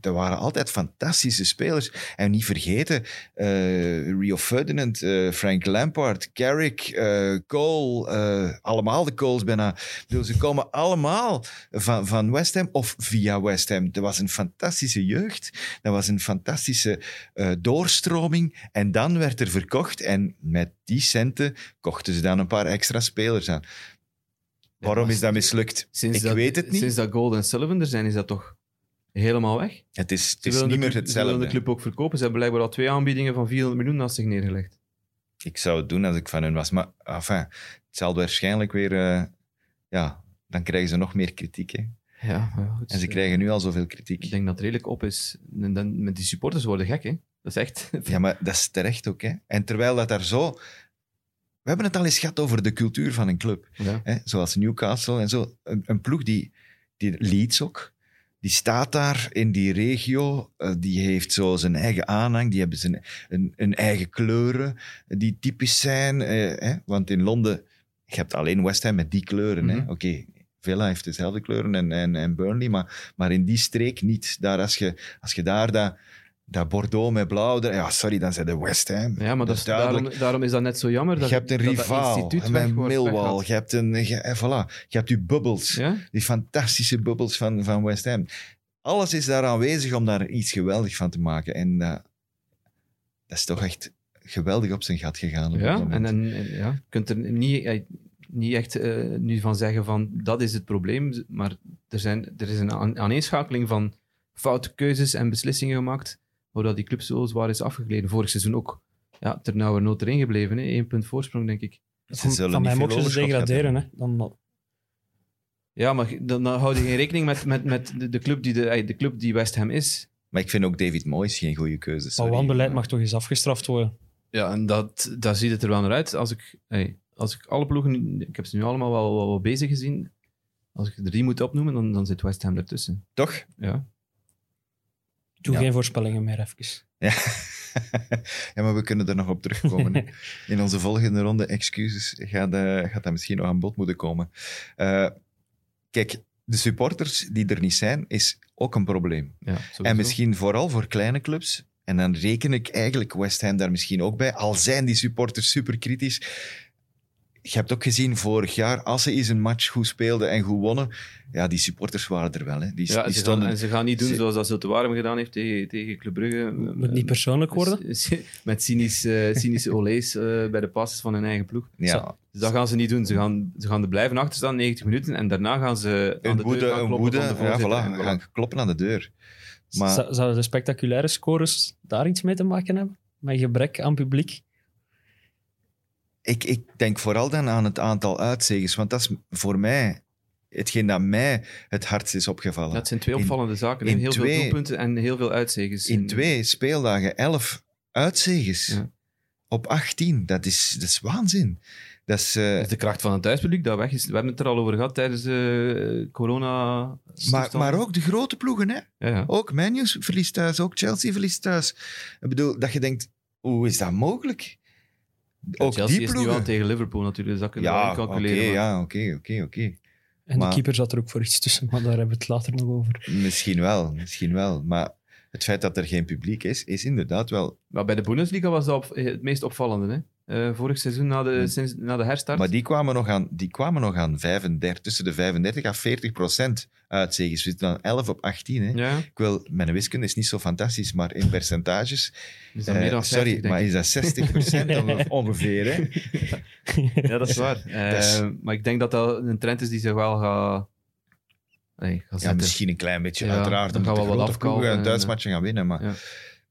er waren altijd fantastische spelers. En niet vergeten, eh, Rio Ferdinand, eh, Frank Lampard, Carrick, eh, Cole, eh, allemaal de Coles bijna. Ik bedoel, ze komen allemaal van, van West Ham of via West Ham. Dat was een fantastische jeugd. Dat was een fantastische eh, doorstroming. En dan werd er verkocht. En met die centen kochten ze dan een paar extra spelers aan. Waarom is dat mislukt?
Sinds
Ik
dat,
weet het niet.
Sinds dat Gold en Sullivan er zijn, is dat toch helemaal weg? Ze
Het is, het is
willen
niet
de
meer
club- Ze willen de
hetzelfde.
club ook verkopen. Ze hebben blijkbaar al twee aanbiedingen van 400 miljoen naast zich neergelegd.
Ik zou het doen als ik van hun was. Maar enfin, het zal waarschijnlijk weer... eh, ja, dan krijgen ze nog meer kritiek. Hè?
Ja, maar ja, goed.
En ze krijgen nu al zoveel
Dus, eh, Ik
kritiek.
denk dat het redelijk op is. En dan, met die supporters worden gek, hè? Dat is echt...
Ja, maar dat is terecht ook. Hè? En terwijl dat daar zo... We hebben het al eens gehad over de cultuur van een club.
Ja.
Hè? Zoals Newcastle en zo. Een, een ploeg die, die Leeds ook. Die staat daar in die regio. eh, die heeft zo zijn eigen aanhang. Die hebben zijn een, een eigen kleuren. Die typisch zijn. eh, hè? Want in Londen, je hebt alleen West Ham met die kleuren. hè.
Mhm.
Oké, Villa heeft dezelfde kleuren en, en, en Burnley. Maar, maar in die streek niet. Daar als, je, als je daar dat, dat Bordeaux met blauw... daar- Ja, sorry, dan zijn de West Ham.
Ja, maar dat is,
duidelijk.
daarom, daarom is dat net zo jammer. Dat,
je hebt een
dat dat
rivaal,
instituut
en
weg
met
wordt
Millwall,
weggehaald.
je hebt, een, je, en voilà, je hebt je bubbels,
Ja?
die fantastische bubbels van, van West Ham. Alles is daar aanwezig om daar iets geweldig van te maken. En eh, dat is toch echt geweldig op zijn gat gegaan. op dit
Ja, en,
moment.
en, en ja, je kunt er niet, eh, niet echt eh, nu van zeggen van dat is het probleem, maar er, zijn, er is een aan- aaneenschakeling van foute keuzes en beslissingen gemaakt, waardoor die club zo zwaar is afgegleden. Vorig seizoen ook. Ja, ternauwernood erin gebleven, hè. één punt voorsprong, denk ik.
ze
Van-
zullen
van
niet
mij
veel
mogen ze
overschot gehad
degraderen. Hè. Dan,
Ja, maar ge- dan, dan hou je geen rekening met, met, met de, de club die de, eh, de club die West Ham is.
Maar ik vind ook David Moyes geen goede keuze.
maar
sorry.
wanbeleid mag toch eens afgestraft worden.
Ja, en dat, daar ziet het er wel naar uit. Als ik, hey, als ik alle ploegen, ik heb ze nu allemaal wel, wel, wel bezig gezien, als ik er drie moet opnoemen, dan, dan zit West Ham ertussen.
Toch?
Ja.
Doe
Ja.
geen voorspellingen meer, even.
Ja. ja, maar we kunnen er nog op terugkomen. hè. In onze volgende ronde, excuses, gaat, eh, gaat dat misschien nog aan bod moeten komen. Eh, kijk, de supporters die er niet zijn, is ook een probleem.
Ja,
En misschien vooral voor kleine clubs. En dan reken ik eigenlijk West Ham daar misschien ook bij. Al zijn die supporters super kritisch. Je hebt ook gezien vorig jaar, als ze eens een match goed speelden en goed wonnen, ja, die supporters waren er wel. Hè. Die,
Ja,
die
ze
stonden...
gaan, en ze gaan niet doen
ze-
zoals dat ze te warm gedaan heeft tegen, tegen Club Brugge.
Eh,
Eh,
Moet niet persoonlijk worden.
Met cynisch, eh, cynische olés eh, bij de passes van hun eigen ploeg.
ja,
Dus dat gaan ze niet doen. Ze gaan, ze gaan er blijven achter staan, 90 minuten. En daarna gaan ze aan
een
de
woede,
deur gaan
een
kloppen
woede,
van de
ja,
voorzitter.
voilà,
En
gaan kloppen aan de deur. Maar-
Zou- Zouden de spectaculaire scores daar iets mee te maken hebben? Met gebrek aan publiek?
ik, ik denk vooral dan aan het aantal uitzegens, want dat is voor mij hetgeen dat mij het hardst is opgevallen.
Dat zijn twee
In-
opvallende zaken.
in
heel
twee-
veel doelpunten en heel veel uitzegens.
In twee speeldagen elf uitzegens
Ja.
op 18, dat is, dat is waanzin. Dat is, eh,
Dat is dus de kracht van het thuispubliek dat weg is. We hebben het er al over gehad tijdens eh corona.
maar,
toestanden.
maar ook de grote ploegen, hè?
Ja, ja.
Ook Man U verliest thuis, ook Chelsea verliest thuis. Ik bedoel, dat je denkt, hoe is dat mogelijk? Ook
Chelsea
die
is nu wel
ploegen.
tegen Liverpool natuurlijk, dus dat kunnen we
Ja,
wel
oké,
calculeren. maar-
ja, oké, oké, oké.
En
Maar-
de keeper zat er ook voor iets tussen, maar daar hebben we het later nog over.
Misschien wel, misschien wel. Maar het feit dat er geen publiek is, is inderdaad wel...
Maar bij de Bundesliga was dat op- eh, het meest opvallende. Hè? Eh, vorig seizoen, na de,
Hmm.
sinds, na de herstart.
Maar die kwamen nog aan, die kwamen nog aan 35, tussen de 35 en 40 procent uitzegens. We zitten dan 11 op 18. Hè.
ja,
Ik wil, mijn wiskunde is niet zo fantastisch, maar in percentages...
is dat
eh,
meer dan 50,
sorry,
denk
maar
ik.
is dat 60 procent ongeveer? Hè?
Ja, dat is waar. Eh,
Dat
Maar ik denk dat dat een trend is die zich wel gaat... Nee, gaat
Ja,
zetten.
misschien een klein beetje,
Ja,
uiteraard.
dan
Dan
gaan
gaan
we
we
wel
wel
afkalven
afkomen.
en, eh,
een thuismatje gaan winnen, maar
ja.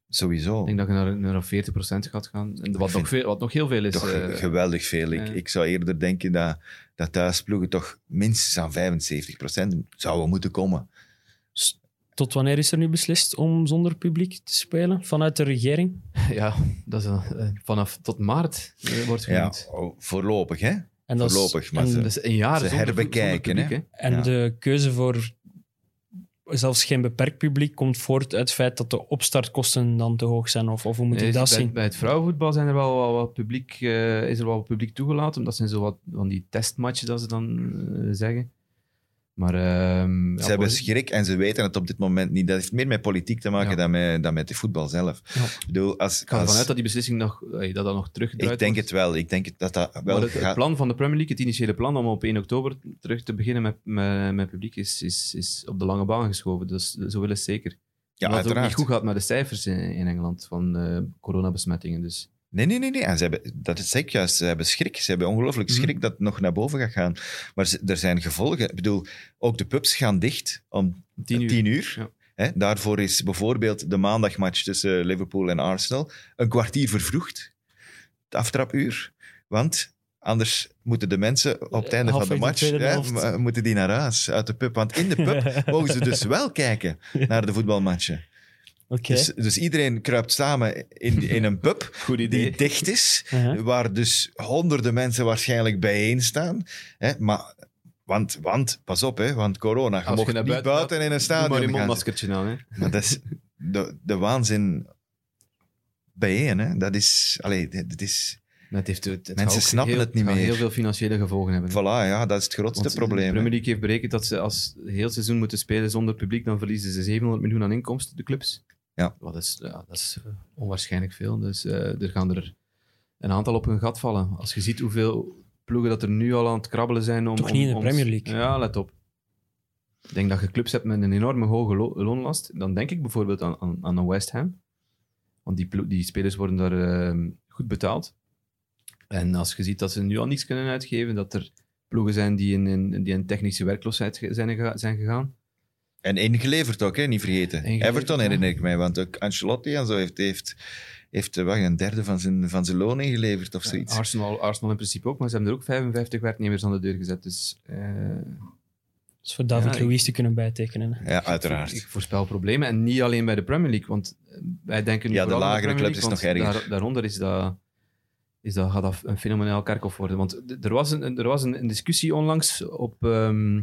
sowieso.
Ik denk dat je naar, naar 40% gaat gaan. En Wat,
vind-
nog veel, wat nog heel veel is.
toch
eh,
eh, geweldig veel. Ik,
ja.
ik zou eerder denken dat, dat thuisploegen toch minstens aan 75% zouden moeten komen.
Tot wanneer is er nu beslist om zonder publiek te spelen? Vanuit de regering?
ja, dat is een- eh, vanaf tot maart eh, wordt
Ja,
genoemd.
oh, voorlopig, hè?
En dat is-
Voorlopig, maar
en-
ze-
Dus een jaar
Ze
zonder,
herbekijken,
zonder publiek,
En
Ja.
de keuze voor zelfs geen beperkt publiek komt voort uit het feit dat de opstartkosten dan te hoog zijn. Of, of hoe moet
Nee,
ik dat
bij,
zien?
bij het vrouwenvoetbal zijn er wel, wel wat publiek, eh, is er wel wat publiek toegelaten. Omdat zijn zo wat van die testmatchen, dat ze dan eh, zeggen. Maar... ehm,
Ze
ja,
hebben
voor-
schrik en ze weten het op dit moment niet. Dat heeft meer met politiek te maken
Ja.
dan, met, dan met de voetbal zelf.
Ja.
Ik bedoel, als,
Ik ga ervan
als-
uit dat die beslissing nog, eh, dat dat nog terugdraait.
ik denk
wordt.
het wel. Ik denk het- dat dat wel
Maar het, het
gaat-
plan van de Premier League, het initiële plan om op 1 oktober terug te beginnen met, met, met publiek, is, is, is op de lange baan geschoven. Dus zo wil het zeker.
ja,
Omdat het ook niet
uiteraard.
goed gaat met de cijfers in, in Engeland van eh, coronabesmettingen. Dus
Nee, nee, nee. nee. En ze hebben, dat is zeker juist. Ze hebben schrik. Ze hebben ongelooflijk
Mhm.
schrik dat het nog naar boven gaat gaan. Maar ze- er zijn gevolgen. Ik bedoel, ook de pubs gaan dicht om
om
10
tien
Eh, uur.
uur.
Hè, daarvoor is bijvoorbeeld de maandagmatch tussen Liverpool en Arsenal een kwartier vervroegd. Het aftrapuur. Want anders moeten de mensen op het einde van de
Halverwege Eh, de
match
tweede
hè,
helft.
m- eh, moeten die naar huis uit de pub. Want in de pub mogen ze dus wel kijken naar de voetbalmatchen.
Oké.
Dus, dus iedereen kruipt samen in, in een pub
Goed idee.
die dicht is,
Uh-huh.
waar dus honderden mensen waarschijnlijk bijeen staan. Hè, maar, want, want, pas op, hè, want corona. Je
Als je
mocht
naar
niet
buiten
buiten,
gaat,
in een
Doe maar
stadion
je
gaan zitten.
mondmaskertje aan. Hè.
Maar dat is de, de waanzin bijeen, hè. Dat is... Allee, dit dit is...
Maar het heeft, het, het
Mensen
gaat ook
snappen
heel,
het niet
gaat
meer.
heel veel financiële gevolgen hebben.
Voilà, ja, dat is het grootste
Want De
probleem. hè.
Premier League heeft berekend dat ze als heel seizoen moeten spelen zonder publiek, dan verliezen ze 700 miljoen aan inkomsten, de clubs.
Ja.
Wat is, ja, dat is eh, onwaarschijnlijk veel. Dus eh, er gaan er een aantal op hun gat vallen. Als je ziet hoeveel ploegen dat er nu al aan het krabbelen zijn om...
Toch
om-
niet in de
om-
Premier League?
Ja, let op. Ik denk dat je clubs hebt met een enorme hoge lo- loonlast. Dan denk ik bijvoorbeeld aan, aan, aan een West Ham. Want die, plo- die spelers worden daar eh, goed betaald. En als je ziet dat ze nu al niets kunnen uitgeven, dat er ploegen zijn die in, in, die in technische werkloosheid ge- zijn, gega- zijn gegaan.
En ingeleverd ook, hè, niet vergeten.
Ingeleverd,
Everton
ja.
herinner ik mij, want ook Ancelotti en zo heeft, heeft, heeft eh, wat, een derde van zijn, van zijn loon ingeleverd of zoiets.
Arsenal, Arsenal in principe ook, maar ze hebben er ook 55 werknemers aan de deur gezet. Dus eh,
Dus voor David
Ja, ik-
Luiz te kunnen bijtekenen. hè.
ja,
Ik,
uiteraard.
voorspel problemen. En niet alleen bij de Premier League. Want eh, wij denken nu
Ja, de
vooral aan
lagere
Premier
clubs is
League,
nog
want
erger.
daaronder is dat, is dat, gaat dat een fenomenaal kerkhof worden. Want d- er was een, een- er was een, een discussie onlangs op, ehm,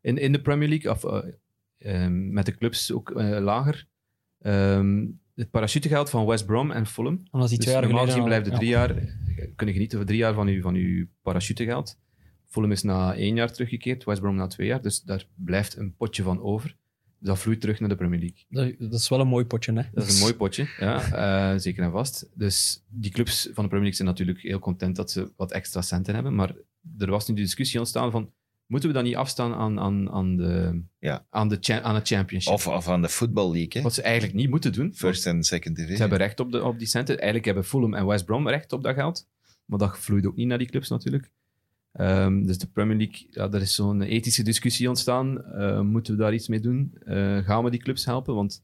in, in de Premier League, of, eh, ehm, met de clubs ook eh, lager. Ehm, het parachutegeld van West Brom en Fulham.
Omdat die
Dus
twee jaar
normaal
geleden...
gezien
al-
blijft er
ja.
drie jaar, kunnen genieten van drie jaar van uw, van uw parachutegeld. Fulham is na één jaar teruggekeerd, West Brom na twee jaar, dus daar blijft een potje van over. Dus dat vloeit terug naar de Premier League.
Dat, dat is wel een mooi potje, hè? Dus
Dat is een mooi potje, ja, eh, zeker en vast. Dus die clubs van de Premier League zijn natuurlijk heel content dat ze wat extra centen hebben, maar er was nu de discussie ontstaan van, moeten we dan niet afstaan aan, aan, aan, de,
Ja.
aan, de, cha- aan het championship?
Of, of aan de Football League, hè.
wat ze eigenlijk niet moeten doen.
First en Second Division.
Ze hebben recht op, de, op die centen. Eigenlijk hebben Fulham en West Brom recht op dat geld. Maar dat vloeit ook niet naar die clubs natuurlijk. Ehm, dus de Premier League, ja, daar is zo'n ethische discussie ontstaan. Eh, moeten we daar iets mee doen? Eh, gaan we die clubs helpen? Want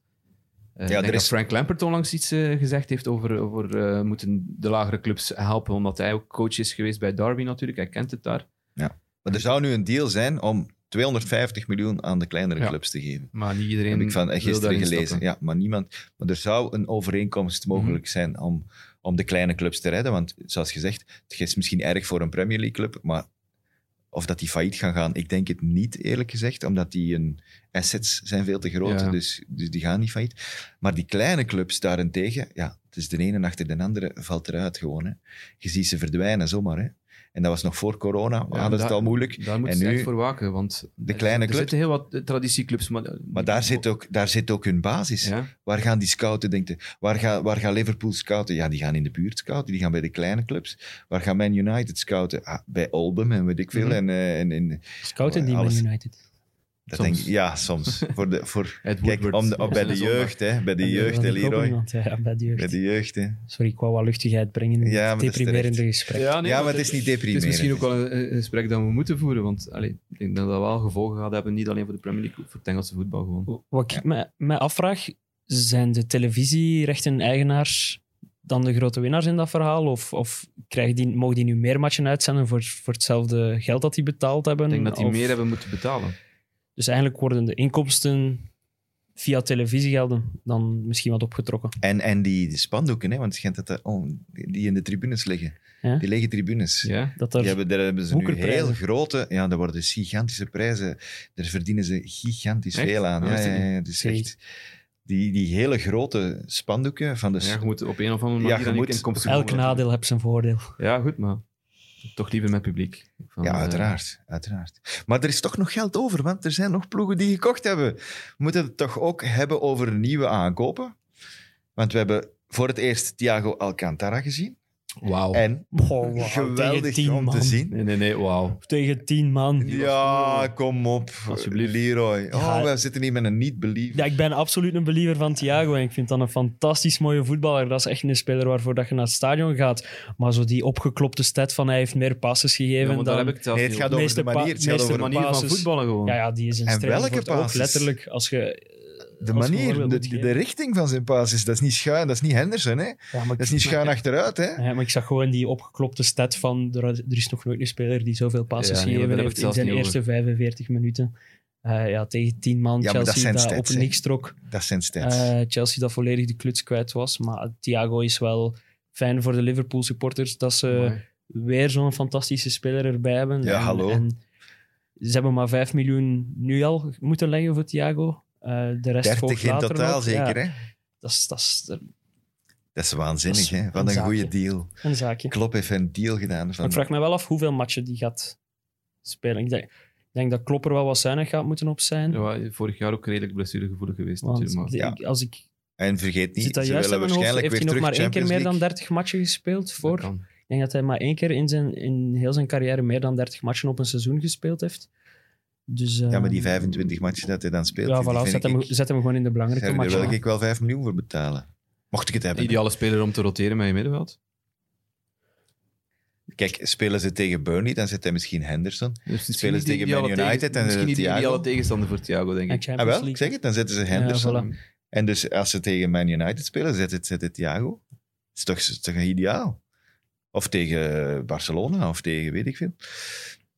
eh, ik
er
denk
is-
dat Frank Lampert onlangs iets eh, gezegd heeft over, over eh, moeten de lagere clubs helpen. Omdat hij ook coach is geweest bij Derby natuurlijk. Hij kent het daar.
Maar er zou nu een deal zijn om 250 miljoen aan de kleinere
Ja.
clubs te geven.
Maar niet
Dat
iedereen
heb ik van eh,
wil
gisteren
daarin
gelezen.
stappen. Mhm.
Ja, maar, niemand, maar er zou een overeenkomst mogelijk zijn om, om de kleine clubs te redden. Want zoals gezegd, het is misschien erg voor een Premier League club, maar of dat die failliet gaan gaan, ik denk het niet, eerlijk gezegd. Omdat die hun assets zijn veel te groot,
Ja.
dus, dus die gaan niet failliet. Maar die kleine clubs daarentegen, ja, het is de ene achter de andere, valt eruit gewoon. Hè. Je ziet ze verdwijnen zomaar, hè. En dat was nog voor corona. We hadden het
daar-
al moeilijk.
Daar moeten
En
ze
nu-
echt voor waken, want
De
er-
kleine
er
clubs-
zitten heel wat eh, traditieclubs. Maar,
Maar daar zit ook, daar zit ook hun basis.
Ja,
Waar gaan die scouten, denkt je? Waar, ga, waar gaat Liverpool scouten? Ja, die gaan in de buurt scouten. Die gaan bij de kleine clubs. Waar gaan Man United scouten? Ah, bij Oldham en weet ik veel.
Mhm.
En, eh, en, en,
Scouten die Man
Alles.
United.
dat
Soms.
denk ik, ja, soms. voor de, voor,
Ed
kijk,
Woodward.
om de, om- bij de
Zondag.
jeugd, hè. Bij de
En eh,
jeugd,
dat
hè,
had ik ook
Leroy.
iemand, ja, bij de jeugd.
Bij de jeugd, hè.
Sorry, ik wou wat luchtigheid brengen in
Ja, maar
het
dat is
deprimerende
terecht.
gesprek.
Ja, nee,
ja, maar het is niet
Het is
deprimerend.
misschien ook wel een,
dus.
een gesprek dat we moeten voeren, want allee, ik denk dat dat wel gevolgen gaat hebben, niet alleen voor de Premier League, ook voor het Engelse voetbal gewoon.
Wat ik me, me afvraag, zijn de televisierechten-eigenaars dan de grote winnaars in dat verhaal? Of, of krijgen die, mogen die nu meer matchen uitzenden voor, voor hetzelfde geld dat die betaald hebben?
Ik denk dat die
Of-
meer hebben moeten betalen.
Dus eigenlijk worden de inkomsten via televisiegelden dan misschien wat opgetrokken.
En, en die, die spandoeken, hè, want het schijnt dat dat- oh, die die in de tribunes liggen.
Ja.
Die lege tribunes.
Ja?
Dat
Die
er
hebben, daar hebben ze nu
Woekerprijzen.
heel grote... Ja, daar worden dus gigantische prijzen. Daar verdienen ze gigantisch
Echt?
veel aan.
Ah,
Ja,
wist ik
ja, ja, het is
Zie.
echt... Die, die hele grote spandoeken van de... s-
Ja, je moet op een of andere
Dus- Ja,
manier
je
dan
moet-
inkomsten
elk
gewoon laten.
nadeel heeft zijn voordeel.
Ja, goed, maar toch liever met publiek. Van,
Ja,
eh,
uiteraard, uiteraard. Maar er is toch nog geld over, want er zijn nog ploegen die gekocht hebben. We moeten het toch ook hebben over nieuwe aankopen? Want we hebben voor het eerst Thiago Alcantara gezien.
Oh. Wauw.
En
Wow, tegen
geweldig
tien
om
man.
te zien.
Nee, nee, nee, wauw.
Tegen tien man.
Ja, kom op.
Alsjeblieft.
Leroy. Oh,
Ja.
we zitten hier met een niet-believer.
Ja, ik ben absoluut een believer van Thiago en ik vind dat een fantastisch mooie voetballer. Dat is echt een speler waarvoor dat je naar het stadion gaat. Maar zo die opgeklopte stat van hij heeft meer passes
Ja,
gegeven
want
dan...
daar heb ik het zelf
Nee, het
niet
gaat
over.
over de
meeste pa-
manier. Het gaat
meeste
de
over
manier van
basis.
voetballen gewoon.
Ja, ja, die is een
En
strealer
welke
voor het oog,
passes?
Letterlijk, als je...
de
als je een
manier,
voorbeeld
de,
moet
de
geven.
richting van zijn passes. Dat is niet schuin, dat is niet Henderson. Hè?
Ja, maar ik-
Dat is niet schuin achteruit. Hè?
Ja, maar ik zag gewoon die opgeklopte stat van er, er is nog nooit een speler die zoveel
Ja,
passes
nee, maar daar heb
gegeven
ik het
heeft in
zelfs
zijn
niet over.
eerste 45 minuten. Eh, ja, tegen 10 man,
Ja, maar dat
Chelsea
zijn
dat,
stats,
op
hè.
niks trok.
Dat zijn stats.
Eh, Chelsea dat volledig de kluts kwijt was. Maar Thiago is wel fijn voor de Liverpool supporters dat ze
Mooi.
weer zo'n fantastische speler erbij hebben.
Ja, hallo.
En ze hebben maar 5 miljoen nu al moeten leggen voor Thiago. Eh, de rest
30
volgt
in
later
totaal
nog.
zeker.
Ja,
Hè?
dat, is, dat is
Dat is waanzinnig.
Dat is
hè?
een
Wat een
zaakje.
goede deal.
een zaakje.
Klopp heeft een deal gedaan.
Maar
Van,
ik vraag me wel af hoeveel matchen die gaat spelen. Ik denk, ik denk dat Klopper wel wat zuinig gaat moeten op zijn.
Ja, vorig jaar ook redelijk blessuregevoelig geweest
want
natuurlijk. Maar,
ik- als ik
En vergeet niet,
zit dat
ze
juist
willen
in mijn hoofd,
waarschijnlijk
heeft
weer
hij nog
terug
maar één keer
Champions
meer dan
League.
30 matchen gespeeld
dat
voor.
kan.
Ik denk dat hij maar één keer in, zijn, in heel zijn carrière meer dan 30 matchen op een seizoen gespeeld heeft. Dus, eh,
Ja, maar die 25 matchen dat hij dan speelt,
Ja,
die
voilà,
vind
zet
ik,
hem, zet hem gewoon in de belangrijke
daar
matchen.
wil ik wel 5 miljoen voor betalen. Mocht ik het hebben.
Ideale speler om te roteren met je middenveld.
Kijk, spelen ze tegen Burnley, dan zit hij misschien Henderson.
Dus misschien
Spelen
niet
ze tegen
de ideale
Man United
tegen-
en
Misschien niet de
Thiago?
ideale tegenstander voor Thiago, denk
En
ik.
Ah,
Champions
wel, ik
League.
zeg het, dan zetten ze
Ja,
Henderson.
voilà.
En dus als ze tegen Man United spelen, zet het, zet het Thiago. Dat is toch, is toch ideaal? Of tegen Barcelona, of tegen weet ik veel.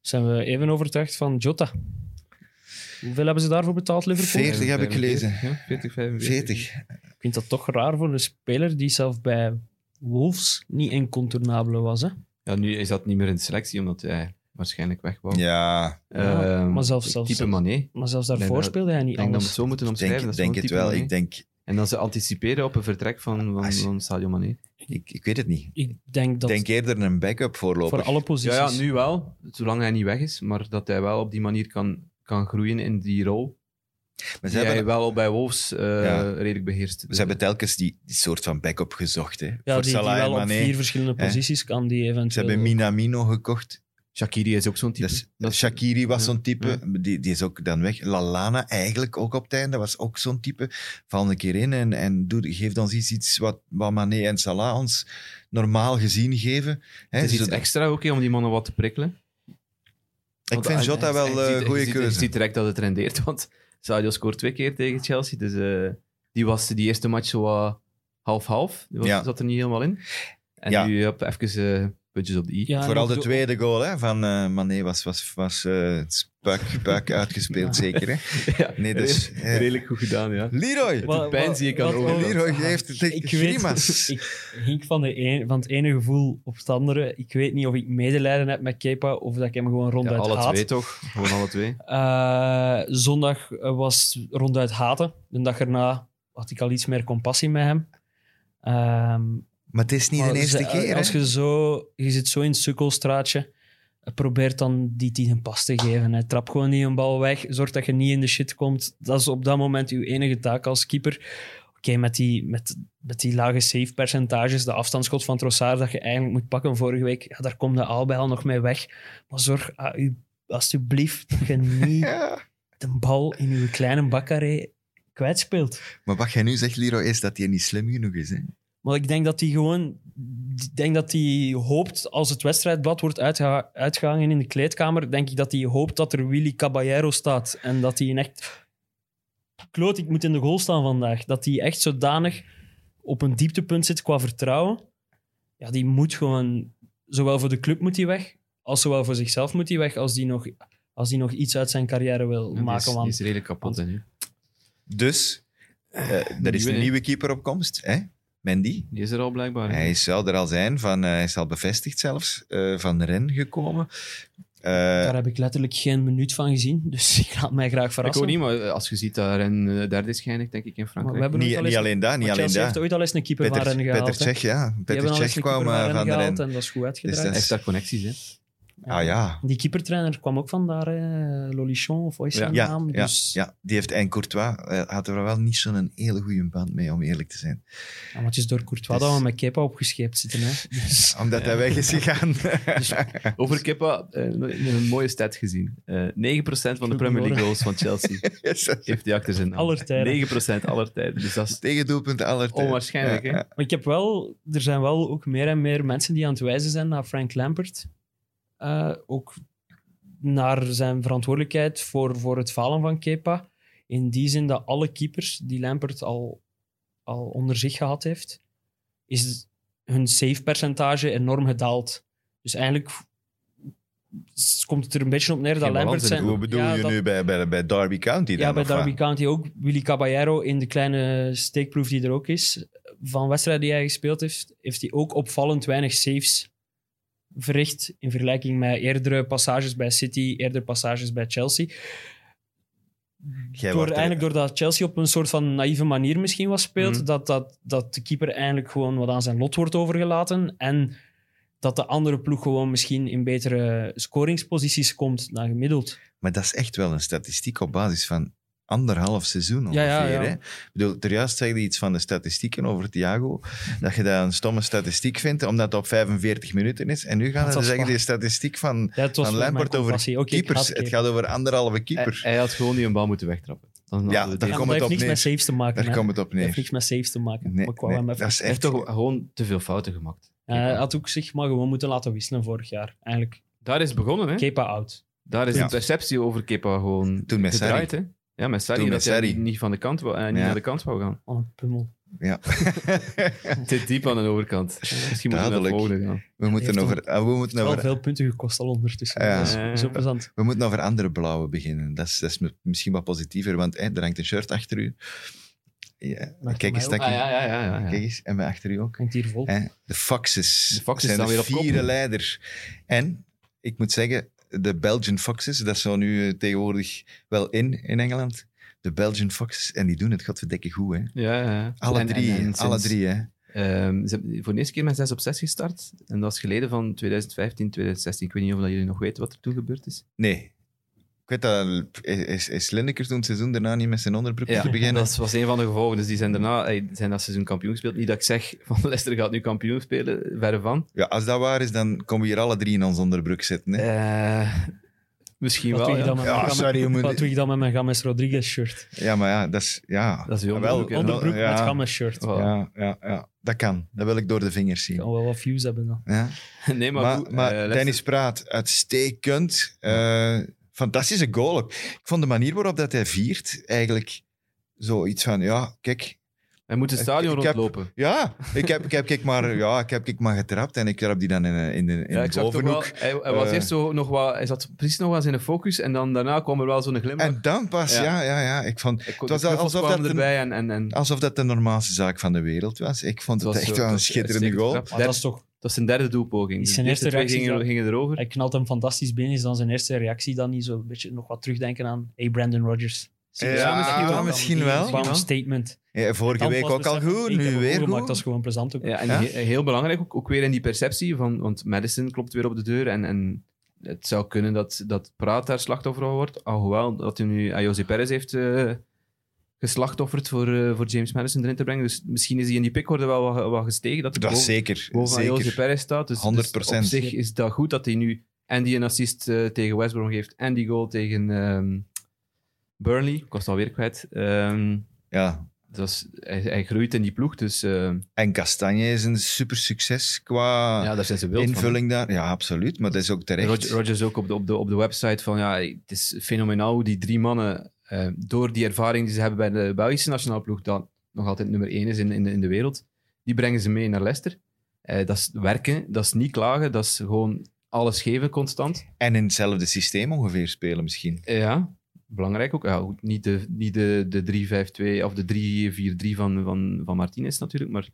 Zijn we even overtuigd van Jota? Hoeveel hebben ze daarvoor betaald, Liverpool?
40 heb ik gelezen.
40, 45.
40.
Ik vind dat toch raar voor een speler die zelf bij Wolves niet incontournabele was. Hè?
Ja, nu is dat niet meer in de selectie, omdat hij waarschijnlijk weg wou.
Ja,
Ja,
Ehm,
maar zelfs- zelfs-
Type Mané.
Maar zelfs daarvoor
dat-
speelde hij
Ik
niet
denk dat we het
anders.
zo moeten
ik denk,
omschrijven. dat is
denk
gewoon
het
type
wel.
Mané.
Ik denk,
En dan ze anticiperen op een vertrek van, van,
Als-
van Sadio Mané.
Dus
ik, ik weet het niet.
Ik denk
Ik
dat
denk eerder een backup voorlopig.
voor alle
Ja,
posities.
ja, nu wel. Zolang hij niet weg is. Maar dat hij wel op die manier kan, kan groeien in die rol.
Maar ze
die
hebben
hij wel bij Wolves eh,
Ja.
redelijk beheerst.
Ze hebben telkens die, die soort van backup gezocht. Hè.
Ja,
Voor
die, die
Salah en
wel op
Mané.
vier verschillende
Hè?
posities kan die eventueel...
Ze hebben Minamino gekocht.
Shakiri is ook zo'n type.
Dat is-
Dat is-
Dus Shakiri was
ja,
zo'n type. Die, die is ook dan weg. Lalana eigenlijk ook op het einde was ook zo'n type. Val een keer in en, en doe, geeft ons iets, iets wat, wat Mané en Salah ons normaal gezien geven. Hè,
Het is iets
zodat-
extra ook hè, om die mannen wat te prikkelen.
ik vind Jota wel een goede
Je
keuze.
ziet direct dat het rendeert, want Sadio scoort twee keer tegen Chelsea. Dus eh, die was die eerste match zo wat half-half. Die was-
Ja.
zat er niet helemaal in. En
Ja.
nu heb even eh, puntjes op de i.
Ja, en
Vooral
ook
de
de-
tweede goal hè, van eh, Mané was, was, was eh, spuik, spuik uitgespeeld, zeker. Hè?
Ja,
Nee, dus,
redelijk,
eh.
redelijk goed gedaan, ja.
Leroy!
Wat-
pijn
wat-
zie ik aan
wat-
ogen.
Leroy geeft het echt
Ik weet-
grimas.
Ik ging van, de een, van het ene gevoel op het andere. Ik weet niet of ik medelijden heb met Kepa of dat ik hem gewoon
Ja,
ronduit
alle
haat.
twee toch? Gewoon alle twee.
Eh, zondag eh, was ronduit haten. De dag erna had ik al iets meer compassie met hem. Ehm,
Maar het is niet
maar dus, eh,
de eerste
ze-
keer. hè.
Als je, zo, je zit zo in het sukkelstraatje. probeert dan die tien een pas te geven. Hè. Trap gewoon die een bal weg, zorg dat je niet in de shit komt. Dat is op dat moment uw enige taak als keeper. Oké, met, die, met, met die lage save percentages, de afstandsschot van Trossard dat je eigenlijk moet pakken vorige week, ja, daar komt de Aalbij al nog mee weg. Maar zorg ah, u, alsjeblieft dat je niet de bal in uw kleine bakkaré kwijtspeelt.
Maar wat jij nu zegt, Liro, is dat hij niet slim genoeg is. Hè?
Maar ik denk dat hij gewoon... Ik denk dat hij hoopt, als het wedstrijdblad wordt uitgeha- uitgehangen in de kleedkamer, denk ik dat hij hoopt dat er Willy Caballero staat. En dat hij een echt... Kloot, ik moet in de goal staan vandaag. Dat hij echt zodanig op een dieptepunt zit qua vertrouwen. Ja, die moet gewoon... Zowel voor de club moet hij weg, als zowel voor zichzelf moet hij weg, als die nog, als die nog iets uit zijn carrière wil
Die is,
maken.
die
Want
is redelijk kapot, hè, nu.
Dus, eh, er is
Nieuwe,
een
hè?
nieuwe keeper op komst, hè? Mendy.
Die is er al blijkbaar. hè.
Hij zou er al zijn, van, eh, hij is al bevestigd zelfs, eh, van Ren gekomen. Eh,
daar heb ik letterlijk geen minuut van gezien, dus ik laat mij graag
ik
verrassen.
ook niet, maar eh, als je ziet dat Ren eh, derde is geëindigd, denk ik, in
Maar
Frankrijk.
we hebben ook
niet,
al eens
niet alleen daar, niet
Maar
alleen
Chelsea
daar.
heeft ooit al eens een keeper van Rennes
Peter,
gehaald.
Peter
hè.
Czech, ja.
Die
Peter
hebben al eens
Czech
een keeper
kwam
van
eh,
Rennes
van de
gehaald
Ren.
en dat is goed
Dus
uitgedraaid.
Hij
dat is-
heeft daar connecties, hè.
Ah ja.
Die keepertrainer kwam ook van daar, hè, Lolichon of hoe is zijn
Ja,
naam?
ja,
dus,
ja, die heeft en Courtois eh, had er wel niet zo'n hele goede band mee, om eerlijk te zijn.
ja, maar het is door Courtois
Dus-
dat we met Kepa opgescheept zitten. Hè. Dus,
Omdat hij weg is gegaan.
Over Kepa, eh, een mooie stat gezien. Eh 9% van de
Goed
Premier League
horen.
goals van Chelsea
Yes.
heeft hij achter zijn naam.
Aller tijden.
9% aller tijden. Dus dat is
Tegendoelpunt
Oh,
aller tijden.
onwaarschijnlijk, hè?
maar ik heb wel, er zijn wel ook meer en meer mensen die aan het wijzen zijn naar Frank Lampert. Eh, ook naar zijn verantwoordelijkheid voor, voor het falen van Kepa. In die zin dat alle keepers die Lampert al, al onder zich gehad heeft, is hun save-percentage enorm gedaald. Dus eigenlijk s- komt het er een beetje op neer dat
Geen balans
Lampert
in het
zijn...
Hoe bedoel
Ja,
je
dat-
nu bij, bij, bij Derby County dan?
ja, bij
of wat?
Derby County ook. Willy Caballero in de kleine steekproef die er ook is. Van wedstrijden die hij gespeeld heeft, heeft hij ook opvallend weinig saves verricht. In vergelijking met eerdere passages bij City, eerdere passages bij Chelsea.
Jij
door,
wordt eh, er-
Eigenlijk doordat Chelsea op een soort van naïeve manier misschien was speelt,
Mhm.
dat, dat, dat de keeper eigenlijk gewoon wat aan zijn lot wordt overgelaten. En dat de andere ploeg gewoon misschien in betere scoringsposities komt dan gemiddeld.
Maar dat is echt wel een statistiek op basis van anderhalf seizoen ongeveer.
Ja, ja, ja.
Hè? Ik bedoel, ter juist zei je iets van de statistieken over Thiago. dat je dat een stomme statistiek vindt, omdat het op 45 minuten is. En nu gaan
Dat
ze
was
zeggen,
waar.
die statistiek van,
Ja, het was
van
voor mijn
Lampert over
compassie. Oké, ik Eh,
keepers.
haat
het
Kepa.
gaat over anderhalve
Hij,
keeper.
hij had gewoon die een bal moeten wegtrappen. Dan
Ja,
hadden we
daar
deze-
komt
dat
het
heeft
op
niks
neer.
met saves te maken.
Daar
hè.
komt het op
Dat heeft
neer.
niks met saves te maken.
Nee,
maar eh, ik wou
nee,
hem even-
dat is
Hij heeft
echt...
toch gewoon te veel fouten gemaakt.
Eh, hij had ook zich maar gewoon moeten laten wisselen vorig jaar. Eigenlijk,
Daar is het begonnen, hè?
Kepa out.
Daar is
Ja.
de perceptie over Kepa gewoon
Toen met Sarri.
gedraaid, hè? Ja, met Sarri.
Toen
dat
met
hij
Sarri.
niet, van de kant wou, eh, niet
Ja.
naar de kant wou gaan.
Wat Oh, een pummel.
Te diep aan de overkant. Misschien moet hij naar
Duidelijk.
volgen gaan.
We moeten
heeft
over... ah, We moeten
Wel
over...
veel punten gekost al ondertussen.
Ja.
Dat is zo
Eh.
plezant.
We moeten over andere blauwe beginnen. Dat is, dat is m- misschien wat positiever, want hè, er hangt een shirt achter u. Ja,
mij
kijk eens,
ook.
Taki.
Ah, ja, ja, ja. ja, ja.
Kijk eens, en bij achter u ook.
Hangt hier vol.
Hè, De Foxes.
De Foxes
zijn
staan
de
weer op kop.
vierde leider. En ik moet zeggen, de Belgian Foxes, dat zou nu eh, tegenwoordig wel in in Engeland. De Belgian Foxes, en die doen het godverdikke goed. Hè.
Ja, ja, ja.
Alle
En- en-
drie,
en
alle
sinds-
drie. Hè.
Ehm, ze hebben voor de eerste keer met 6 op 6 gestart. En dat is geleden van 2015, 2016. Ik weet niet of dat jullie nog weten wat er toen gebeurd is.
Nee. Ik weet dat, is, is Lineker toen het seizoen daarna niet met zijn onderbroek te beginnen?
dat was een van de gevolgen. Dus die zijn daarna ey, zijn dat seizoen kampioen gespeeld. Niet dat ik zeg van Leicester gaat nu kampioen spelen, verre van.
Ja, als dat waar is, dan komen we hier alle drie in ons onderbroek zitten. Hè.
Eh, misschien
Wat
wel.
doe je
ja.
dan met mijn
Ja,
Games-
sorry, je moet-
Wat doe je dan met mijn Games Rodriguez shirt?
Ja, maar ja, dat is... Ja.
Dat is uw
Ah,
onderbroek, hè.
Onderbroek
ja,
met Games shirt.
Voilà.
Ja, ja, ja, dat kan. Dat wil ik door de vingers
Ik
zien.
kan wel wat views hebben dan.
Ja.
Nee, maar,
Maar,
goed,
maar
eh,
Dennis
Leicester-
Praat, uitstekend. Eh, fantastische goal ook. Ik vond de manier waarop dat hij viert eigenlijk zoiets van, ja, kijk.
Hij moet het stadion
Ik- ik heb-
rondlopen.
Ja, ik heb, ik heb, kijk maar, ja, ik heb kijk maar getrapt en ik trap die dan in, eh, in de, in
ja,
de
ik zag toch wel,
bovenhoek.
hij, hij was
Eh.
eerst zo nog wat, hij zat precies nog wel eens in de focus en dan daarna kwam er wel zo'n glimlach.
En dan pas,
Ja.
ja, ja, ja. ik vond,
Ik- de
het was
knuffels
alsof
kwamen
dat een-
erbij en, en, en
alsof dat de normaalste zaak van de wereld was. Ik vond het,
was
echt
zo-
wel een
het was
schitterende
uitstekend
goal.
knap.
Maar
Derde-
dat is toch...
Dat is zijn derde doelpoging.
Is
Dus
zijn
de eerste
eerste
twee
reactie
gingen,
dan-
gingen erover.
Hij knalt hem fantastisch binnen. Is dan zijn eerste reactie dan niet zo een beetje nog wat terugdenken aan... Hey, Brandon Rodgers. Zie je
Ja,
zo?
misschien
Dan
wel, misschien
die
wel.
bam
Misschien wel.
statement.
Ja, vorige
Dan
week
pas
ook al
beseffen,
goed,
ik heb
nu
een
weer
goal gemaakt, Dat is
goed.
gewoon plezant ook.
Ja, en
Ja.
he- heel belangrijk ook, ook weer in die perceptie, van, want Madison klopt weer op de deur en, en het zou kunnen dat, dat Praat daar slachtoffer van wordt. Alhoewel dat hij nu aan José Perez heeft eh, geslachtofferd voor, eh, voor James Madison erin te brengen. Dus misschien is hij in die pickorde wel wat, wat gestegen. Dat, hij
Dat
boven-
zeker.
bovenaan José
zeker.
Perez staat. Dus, dus
100%.
op zich is dat goed dat hij nu en die een assist eh, tegen West Brom geeft en die goal tegen ehm, Burnley. Ik was het alweer kwijt. Ehm,
Ja.
dus hij, hij groeit in die ploeg, dus ehm,
En Castagne is een super succes qua
ja, daar zijn ze wild van.
Ah, invulling daar. Ja, absoluut. Maar dat is ook terecht.
Roger, Rogers ook op de, op, de, op de website van ja, het is fenomenaal hoe die drie mannen eh, door die ervaring die ze hebben bij de Belgische nationale ploeg, dat nog altijd nummer één is in, in, de- in de wereld, die brengen ze mee naar Leicester. Eh, dat is werken, dat is niet klagen, dat is gewoon alles geven constant.
En in hetzelfde systeem ongeveer spelen misschien.
Eh, ja, belangrijk ook. Ja, goed, niet de, niet de, de 3-5-2 of de 3-4-3 van, van, van Martinez natuurlijk, maar ze,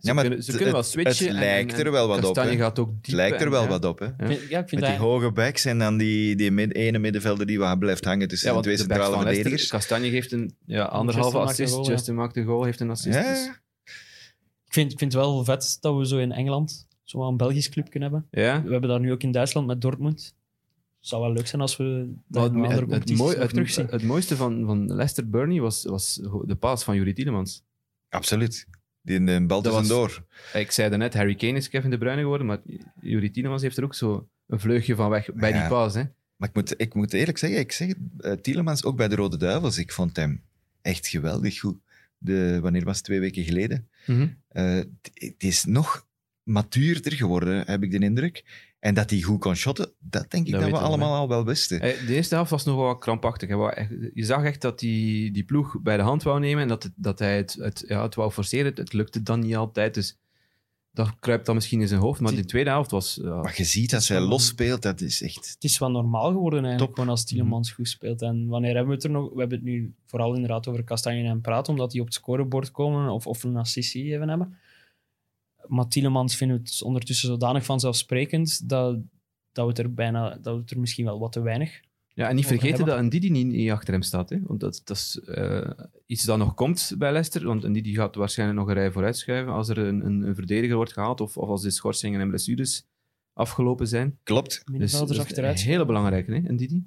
Ja, maar
kunnen, ze
het-
kunnen wel
het-
switchen.
het
en-
lijkt
en-
er wel wat op,
Castagne
hè.
gaat ook diep
Het lijkt er
en-
wel
ja.
wat op, hè?
Ja.
Ik vind- Ja, ik vind
Met die
dat...
hoge backs en dan die, die mid, ene middenvelder die wat blijft hangen tussen
Ja,
de
want
twee
de backs
centrale
van Leicester,
verdedigers.
Castagne geeft een ja, anderhalve
Justin maakt
assist.
een goal, ja.
Justin maakt een goal, heeft een assist.
Ja,
dus-
Ik vind, ik vind het wel vet dat we zo in Engeland zo wel een Belgisch club kunnen hebben.
ja.
We hebben daar nu ook in Duitsland met Dortmund. Het zou wel leuk zijn als we dat
Wat-
in andere
het, het,
competities
mooi-
nog
het,
terugzien.
het mooiste van, van Leicester Burnley was, was de paas van Jurie Tielemans.
absoluut. Die in de bal
Dat
tussen
was-
door.
Ik zei daarnet, Harry Kane is Kevin De Bruyne geworden, maar Jurie Tielemans heeft er ook zo een vleugje van weg bij
Ja.
die paas. Hè.
Maar ik moet, ik moet eerlijk zeggen, ik zeg het, eh, Tielemans ook bij de Rode Duivels, ik vond hem echt geweldig goed. De, wanneer was het? Twee weken geleden. Eh, het- het is nog matuurder geworden, heb ik de indruk. En dat hij goed kon shotten, dat denk ik
Dat
dat, we
weten we,
allemaal al wel wisten.
Eh, De eerste helft was nog wel wat krampachtig. hè. Wou echt- Je zag echt dat die, die ploeg bij de hand wou nemen en dat, het- dat hij het, het, ja, het wou forceren. Het, het lukte dan niet altijd, dus dat kruipt dan misschien in zijn hoofd. Maar
Die-
de tweede helft was... ja,
Maar je ziet dat zij los speelt, dat is echt...
het is wel normaal geworden eigenlijk,
Top.
gewoon als Tielemans goed speelt. En wanneer hebben we het er nog? We hebben het nu vooral inderdaad over Kastanje en Praat, omdat die op het scorebord komen of, of een assistie even hebben. Maar Tielemans vinden we het ondertussen zodanig vanzelfsprekend dat, dat, we het er bijna, dat we het er misschien wel wat te
Dus
weinig...
Ja, en niet
over
vergeten
hebben.
dat Ndidi niet, niet achter hem staat. Hè? Want dat, dat is eh, iets dat nog komt bij Leicester. Want Ndidi gaat waarschijnlijk nog een rij vooruit schuiven als er een, een, een verdediger wordt gehaald of, of als de schorsingen en blessures afgelopen zijn.
Klopt.
Dus dat
Middenvelders
is
achteruit.
een hele belangrijke, hè, Ndidi?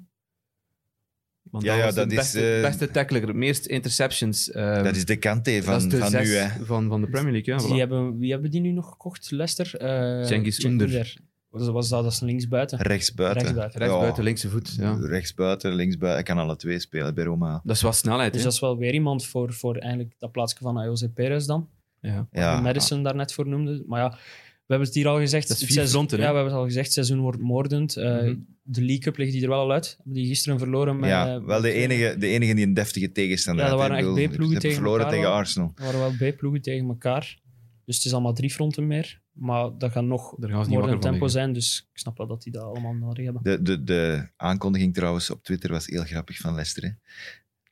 Want dat
Ja, ja,
was de
dat is,
beste,
eh,
beste tackler, meest interceptions. eh,
Dat is de kanté
dat
van,
is de
van
zes
nu, hè.
Van, van de Premier League. Ja,
Die
voilà.
hebben, wie hebben die nu nog gekocht? Leicester? Eh
Cengiz
Cengiz
Under.
Under. Was, was dat, dat is linksbuiten.
Rechtsbuiten.
Rechts
Rechtsbuiten.
Ja. Dus, eh,
buiten, linkse voet. Ja.
Rechtsbuiten, linksbuiten. Hij kan alle twee spelen bij Roma.
Dat is wel snelheid.
Dus
hè.
dat is wel weer iemand voor, voor eigenlijk dat plaatsje van José Perez dan.
ja.
Ja,
Madison Madison daarnet voor noemde. Maar ja, we hebben het hier al gezegd.
Dat is
het
vier
seizoen,
fronten, hè?
Ja, we hebben het al gezegd. Het seizoen wordt moordend. Eh,
Mhm.
De League Cup ligt die er wel al uit. Hebben die gisteren verloren. Met,
ja,
eh,
wel de enige, de enige die een deftige tegenstander
Ja, dat
had, hè.
waren
Ik
echt
bedoel,
B-ploegen
ze hebben
tegen
verloren
elkaar
tegen
wel.
Arsenal.
Er waren wel B-ploegen tegen elkaar. Dus het is allemaal drie fronten meer. Maar dat gaat nog
Daar gaan ze niet wakker van
moordend tempo
liggen.
zijn. Dus ik snap wel dat die dat allemaal nodig hebben.
De, de, de aankondiging trouwens op Twitter was heel grappig van Leicester. hè.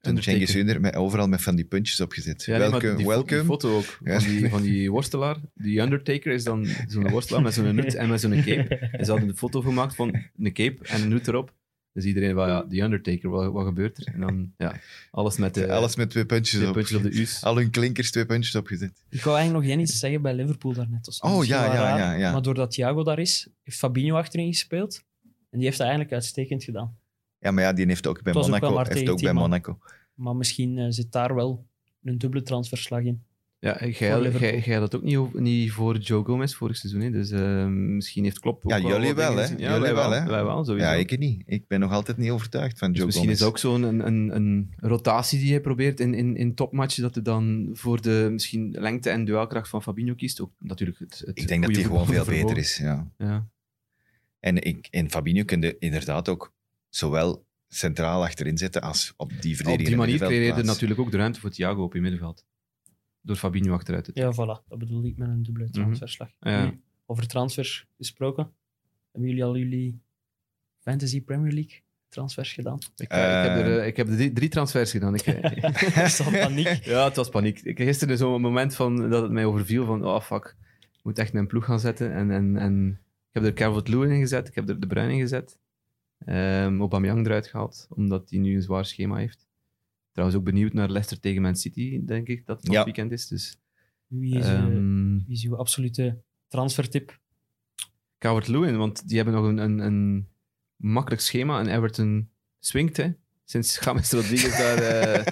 Toen
Undertaker.
Cengiz Under met overal met van die puntjes opgezet.
Ja, nee, maar
welcome,
die fo-
welcome.
Die foto ook,
Ja.
van, die, van die worstelaar. Die Undertaker is dan zo'n worstelaar met zo'n hoed en met zo'n cape. En ze hadden een foto gemaakt van een cape en een hoed erop. Dus iedereen van, ja, die Undertaker, wat, wat gebeurt er? En dan, ja, alles met de
Alles met twee puntjes
twee
op.
puntjes op de U's.
Al hun klinkers twee puntjes opgezet.
Ik wou eigenlijk nog één iets zeggen bij Liverpool daarnet. Dat is
Oh,
misschien
ja,
wel
ja,
raar,
ja, ja.
Maar doordat Thiago daar is, heeft Fabinho achterin gespeeld. En die heeft dat eigenlijk uitstekend gedaan.
Ja, maar ja, die heeft ook bij
Het was ook wel
Monaco.
maar
heeft
tegen
ook bij
tien man.
Monaco.
Maar misschien eh, zit daar wel een dubbele transverslag in.
Ja, en jij
Voor
jij-
Liverpool.
jij had dat ook niet, over- niet voor Joe Gomez vorig seizoen. Hè? Dus eh, misschien heeft Klopp ook
Ja,
wel
jullie
wat dingen
wel, hè?
gezien. Ja,
Jullie
wij
wel,
wel,
hè?
Wij wel, sowieso.
Ja, ik niet. Ik ben nog altijd niet overtuigd van
Dus
Joe
misschien is
Gomez.
ook zo'n een, een, een rotatie die hij probeert in, in, in topmatchen, dat hij dan voor de misschien lengte en duelkracht van Fabinho kiest. Ook natuurlijk het, het
Ik denk dat
goede
die gewoon veel
voetbalvermogen.
beter is. Ja.
Ja.
En ik, in Fabinho kun je inderdaad ook zowel centraal achterin zetten als op die
Op
verdediging.
die manier creëer je er natuurlijk ook de ruimte voor Thiago op je middenveld. Door Fabinho achteruit te
Ja, voilà. Dat bedoel ik met een dubbele
Mhm.
transverslag.
Ja.
Nu, Over transfers gesproken. Hebben jullie al jullie Fantasy Premier League transfers gedaan?
Ik, eh, ik heb er, eh, ik heb er drie, drie transfers gedaan. Ik, eh,
Is dat paniek?
ja, het was paniek. Ik had gisteren dus zo'n moment van, dat het mij overviel van, oh fuck, ik moet echt mijn ploeg gaan zetten. En, en, en ik heb er Calvert-Lewin in gezet, ik heb er De Bruin in gezet. Ehm Aubameyang eruit gehaald, omdat hij nu een zwaar schema heeft. Trouwens ook benieuwd naar Leicester tegen Man City, denk ik, dat het van
Ja.
het weekend is. Dus,
Wie is, eh,
ehm,
wie is uw absolute transfertip?
Calvert-Lewin, want die hebben nog een, een, een makkelijk schema. En Everton swingt, hè. Sinds James Rodriguez daar eh,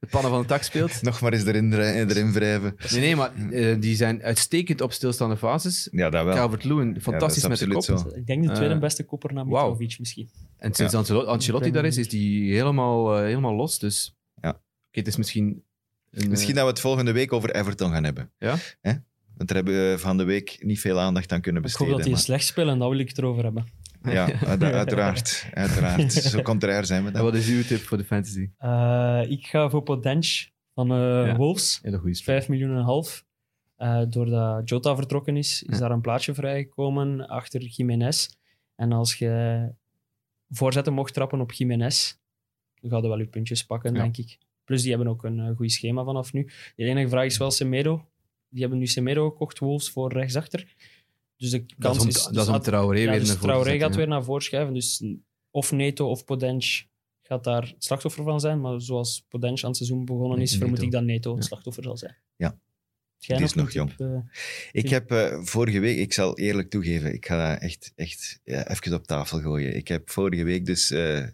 de pannen van de tak speelt.
Nog maar eens erin, dri- erin wrijven.
Nee, nee, maar eh, die zijn uitstekend op stilstaande fases.
Ja, dat wel.
Calvert-Lewin, fantastisch
Ja, dat
met
is
de kop.
absoluut zo.
Ik denk de tweede
Eh,
beste kopper na
wauw.
Mitrovic misschien.
En sinds
Ja.
Ancelotti, Ancelotti daar is, is die helemaal, eh, helemaal los. Dus
Ja.
Oké, het is misschien... Een,
Misschien
eh,
dat we het volgende week over Everton gaan hebben.
Ja?
Hè? Want daar hebben we eh, van de week niet veel aandacht aan kunnen
Ik hoop
besteden.
dat die
maar-
slecht spelen en daar wil ik het erover hebben.
Ja, uit- uiteraard. uiteraard. Zo contrair zijn we
en
dan.
eh, wat is uw tip voor de fantasy?
Eh, ik ga voor Potench van eh,
Ja.
Wolves.
Hele goede spel.
5 miljoen en een half. Eh, doordat Jota vertrokken is, is daar een plaatsje vrijgekomen achter Jiménez. En als je voorzetten mocht trappen op Jiménez, dan ga je wel je puntjes pakken,
Ja.
denk ik. Plus, die hebben ook een eh, goed schema vanaf nu. De enige vraag is wel Semedo. Die hebben nu Semedo gekocht, Wolves, voor rechtsachter. Dus de
Dat
kans
is om,
is...
dat is om Traoré
ja,
weer
dus
naar voren te
Traoré
zetten,
gaat
ja.
weer naar voren schuiven. Dus of Neto of Podench gaat daar het slachtoffer van zijn. Maar zoals Podench aan het seizoen begonnen is,
Neto.
vermoed ik dat Neto het
Ja.
slachtoffer zal zijn.
Ja.
Heb jij
Die is nog
een tip, eh?
Ik heb eh, vorige week, ik zal eerlijk toegeven, ik ga dat echt, echt ja, even op tafel gooien. Ik heb vorige week dus eh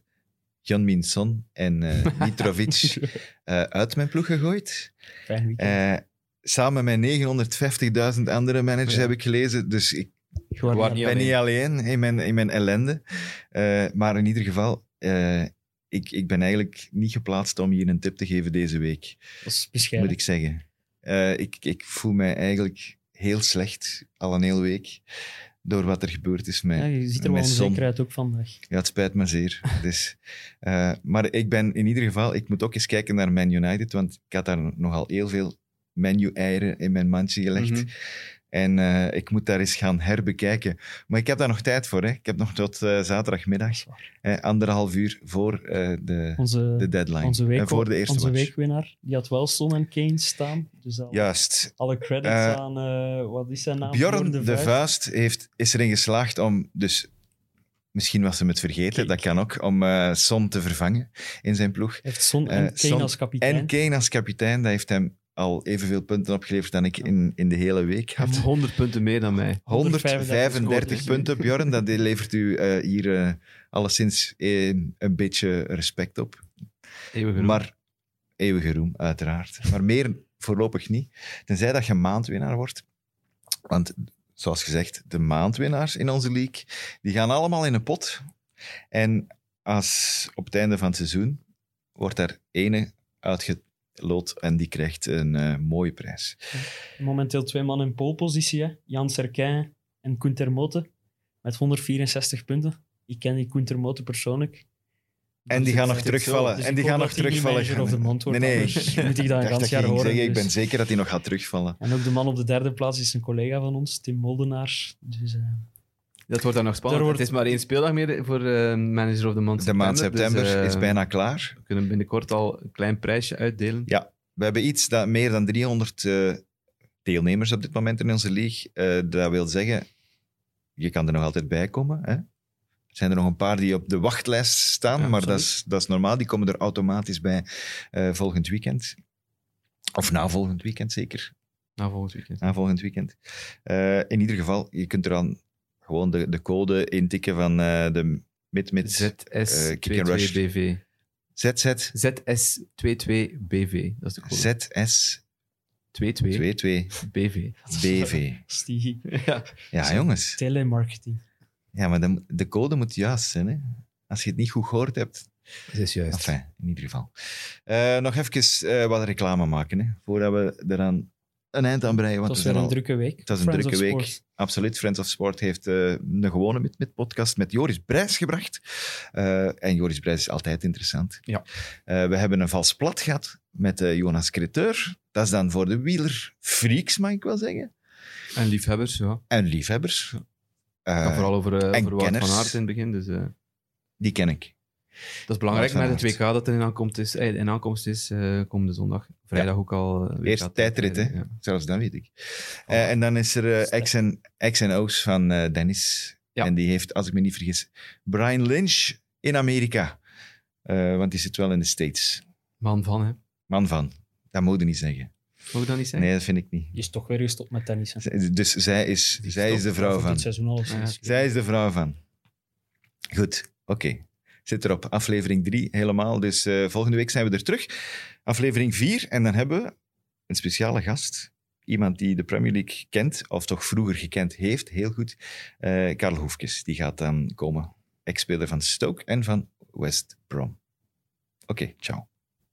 Jan Son en eh Mitrovic eh, uit mijn ploeg gegooid.
Fijn weekend.
Eh, samen met 950.000 andere managers
Ja.
heb ik gelezen. Dus ik
Gewoon
waar
aan-
niet
ben niet alleen in mijn, in mijn ellende. Eh, maar in ieder geval, eh, ik, ik ben eigenlijk niet geplaatst om hier een tip te geven deze week,
dat is
moet
bescheiden.
ik zeggen. Eh, ik, ik voel mij eigenlijk heel slecht al een hele week door wat er gebeurd is met,
Ja, je ziet er wel
met Son.
onzeker uit ook vandaag.
Ja, het spijt me zeer. Dus, eh, maar ik ben in ieder geval, ik moet ook eens kijken naar Man United, want ik had daar nogal heel veel menu eieren in mijn mandje gelegd.
Mhm.
En eh, ik moet daar eens gaan herbekijken. Maar ik heb daar nog tijd voor. Hè. Ik heb nog tot eh, zaterdagmiddag, eh, anderhalf uur voor eh, de, de
Onze,
deadline.
onze, week,
en voor de eerste
onze
match.
weekwinnaar, die had wel Son en Kane staan. Dus al-
Juist.
alle credits
Eh,
aan, eh, wat is zijn naam?
Bjorn de Vuist,
Vuist.
heeft, is erin geslaagd om, dus misschien was hem het vergeten, dat kan ook, om eh Son te vervangen in zijn ploeg.
Heeft Son en
eh,
Kane
Son
als kapitein.
En Kane als kapitein, dat heeft hem al evenveel punten opgeleverd dan ik in, in de hele week
Hij heeft
had.
100 punten meer dan mij.
135
scoort,
punten, Bjorn. Dat levert u eh, hier eh, alleszins eh, een beetje respect op.
Eeuwig genoeg.
Maar eeuwige roem, uiteraard. Maar meer voorlopig niet. Tenzij dat je maandwinnaar wordt. Want zoals gezegd, de maandwinnaars in onze league, die gaan allemaal in een pot. En als op het einde van het seizoen wordt daar ene uitgeloot en die krijgt een eh, mooie prijs.
Momenteel twee man in polepositie. hè. Jan Serkin en Koen Termote. Met 164 punten. Ik ken die Koen Termote persoonlijk.
En die gaan nog
zegt het zo.
terugvallen.
Dus
en
ik
die
hoop
gaan nog
dat die niet
terugvallen.
manager of de mond wordt,
nee, nee.
anders moet ik dat een
dacht
gans
je
jaar
ging
horen,
zeggen, Ik
dus.
ben zeker dat die nog gaat terugvallen.
En ook de man op de derde plaats is een collega van ons, Tim Moldenaar. Dus, eh,
dat wordt dan nog spannend.
Er wordt-
Het is maar één speeldag meer voor eh, Manager of the Month
De maand september
dus, eh,
is bijna klaar.
We kunnen binnenkort al een klein prijsje uitdelen.
Ja. We hebben iets dat meer dan 300 eh, deelnemers op dit moment in onze league. Eh, dat wil zeggen, je kan er nog altijd bij komen. Hè? Er zijn er nog een paar die op de wachtlijst staan,
Ja,
maar dat
absoluut.
is, dat is normaal. Die komen er automatisch bij eh, volgend weekend. Of na volgend weekend zeker.
Na volgend weekend.
Na volgend weekend. Eh, in ieder geval, je kunt er dan gewoon de, de code intikken van eh, de mid mid eh, Kick and Rush.
ZS22BV.
ZZ
ZS22BV. Dat is de code.
ZS22BV.
BV.
dat is die
Ja.
Ja, jongens.
telemarketing.
Ja, maar dan- de code moet juist zijn. Hè? Als je het niet goed gehoord hebt.
Dat is juist.
Enfin, in ieder geval. Eh, nog even eh, wat reclame maken, hè, voordat we eraan een eind aan breien.
Het
Want
was
we zijn
weer een
al-
drukke week.
Het was een
Friends
drukke
of
week.
Sport.
Absoluut. Friends of Sport heeft eh, een gewone met, met podcast met Joris Brijs gebracht. Eh, en Joris Brijs is altijd interessant.
Ja.
Eh, we hebben een vals plat gehad met eh, Jonas Creteur. Dat is dan voor de wielerfreaks, mag ik wel zeggen.
En liefhebbers, ja.
En liefhebbers.
Het
Eh,
gaat vooral over, eh
en
over Wout van
kenners.
Aert in het begin. Dus, eh,
Die ken ik.
dat is belangrijk
Wout van
met het WK dat er in aankomst is. eh, in aankomst is eh, komende zondag. Vrijdag ook al. eh, WK
Eerst tijdrit, hè?
Ja.
Zelfs dat weet ik. Eh, en dan is er eh X en- X en O's van eh, Dennis.
Ja.
En die heeft, als ik me niet vergis, Brian Lynch in Amerika. Eh, want die zit wel in de States.
Man van, hè?
Man van. Dat moet je niet zeggen.
Mag ik dat niet zeggen?
Nee, dat vind ik niet.
Die is toch weer gestopt met tennissen.
Z- Dus zij is, zij is de vrouw
Voor
van.
Dit seizoen alles.
Ah, ja.
Zij is de vrouw van. Goed. Oké. Zit erop. Aflevering 3 helemaal. Dus eh, volgende week zijn we er terug. Aflevering 4. En dan hebben we een speciale gast. Iemand die de Premier League kent, of toch vroeger gekend heeft, heel goed. Eh Karel Hoefkes, die gaat dan komen. Ex-speler van Stoke en van West Brom. Oké, ciao.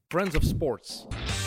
Friends of Sports.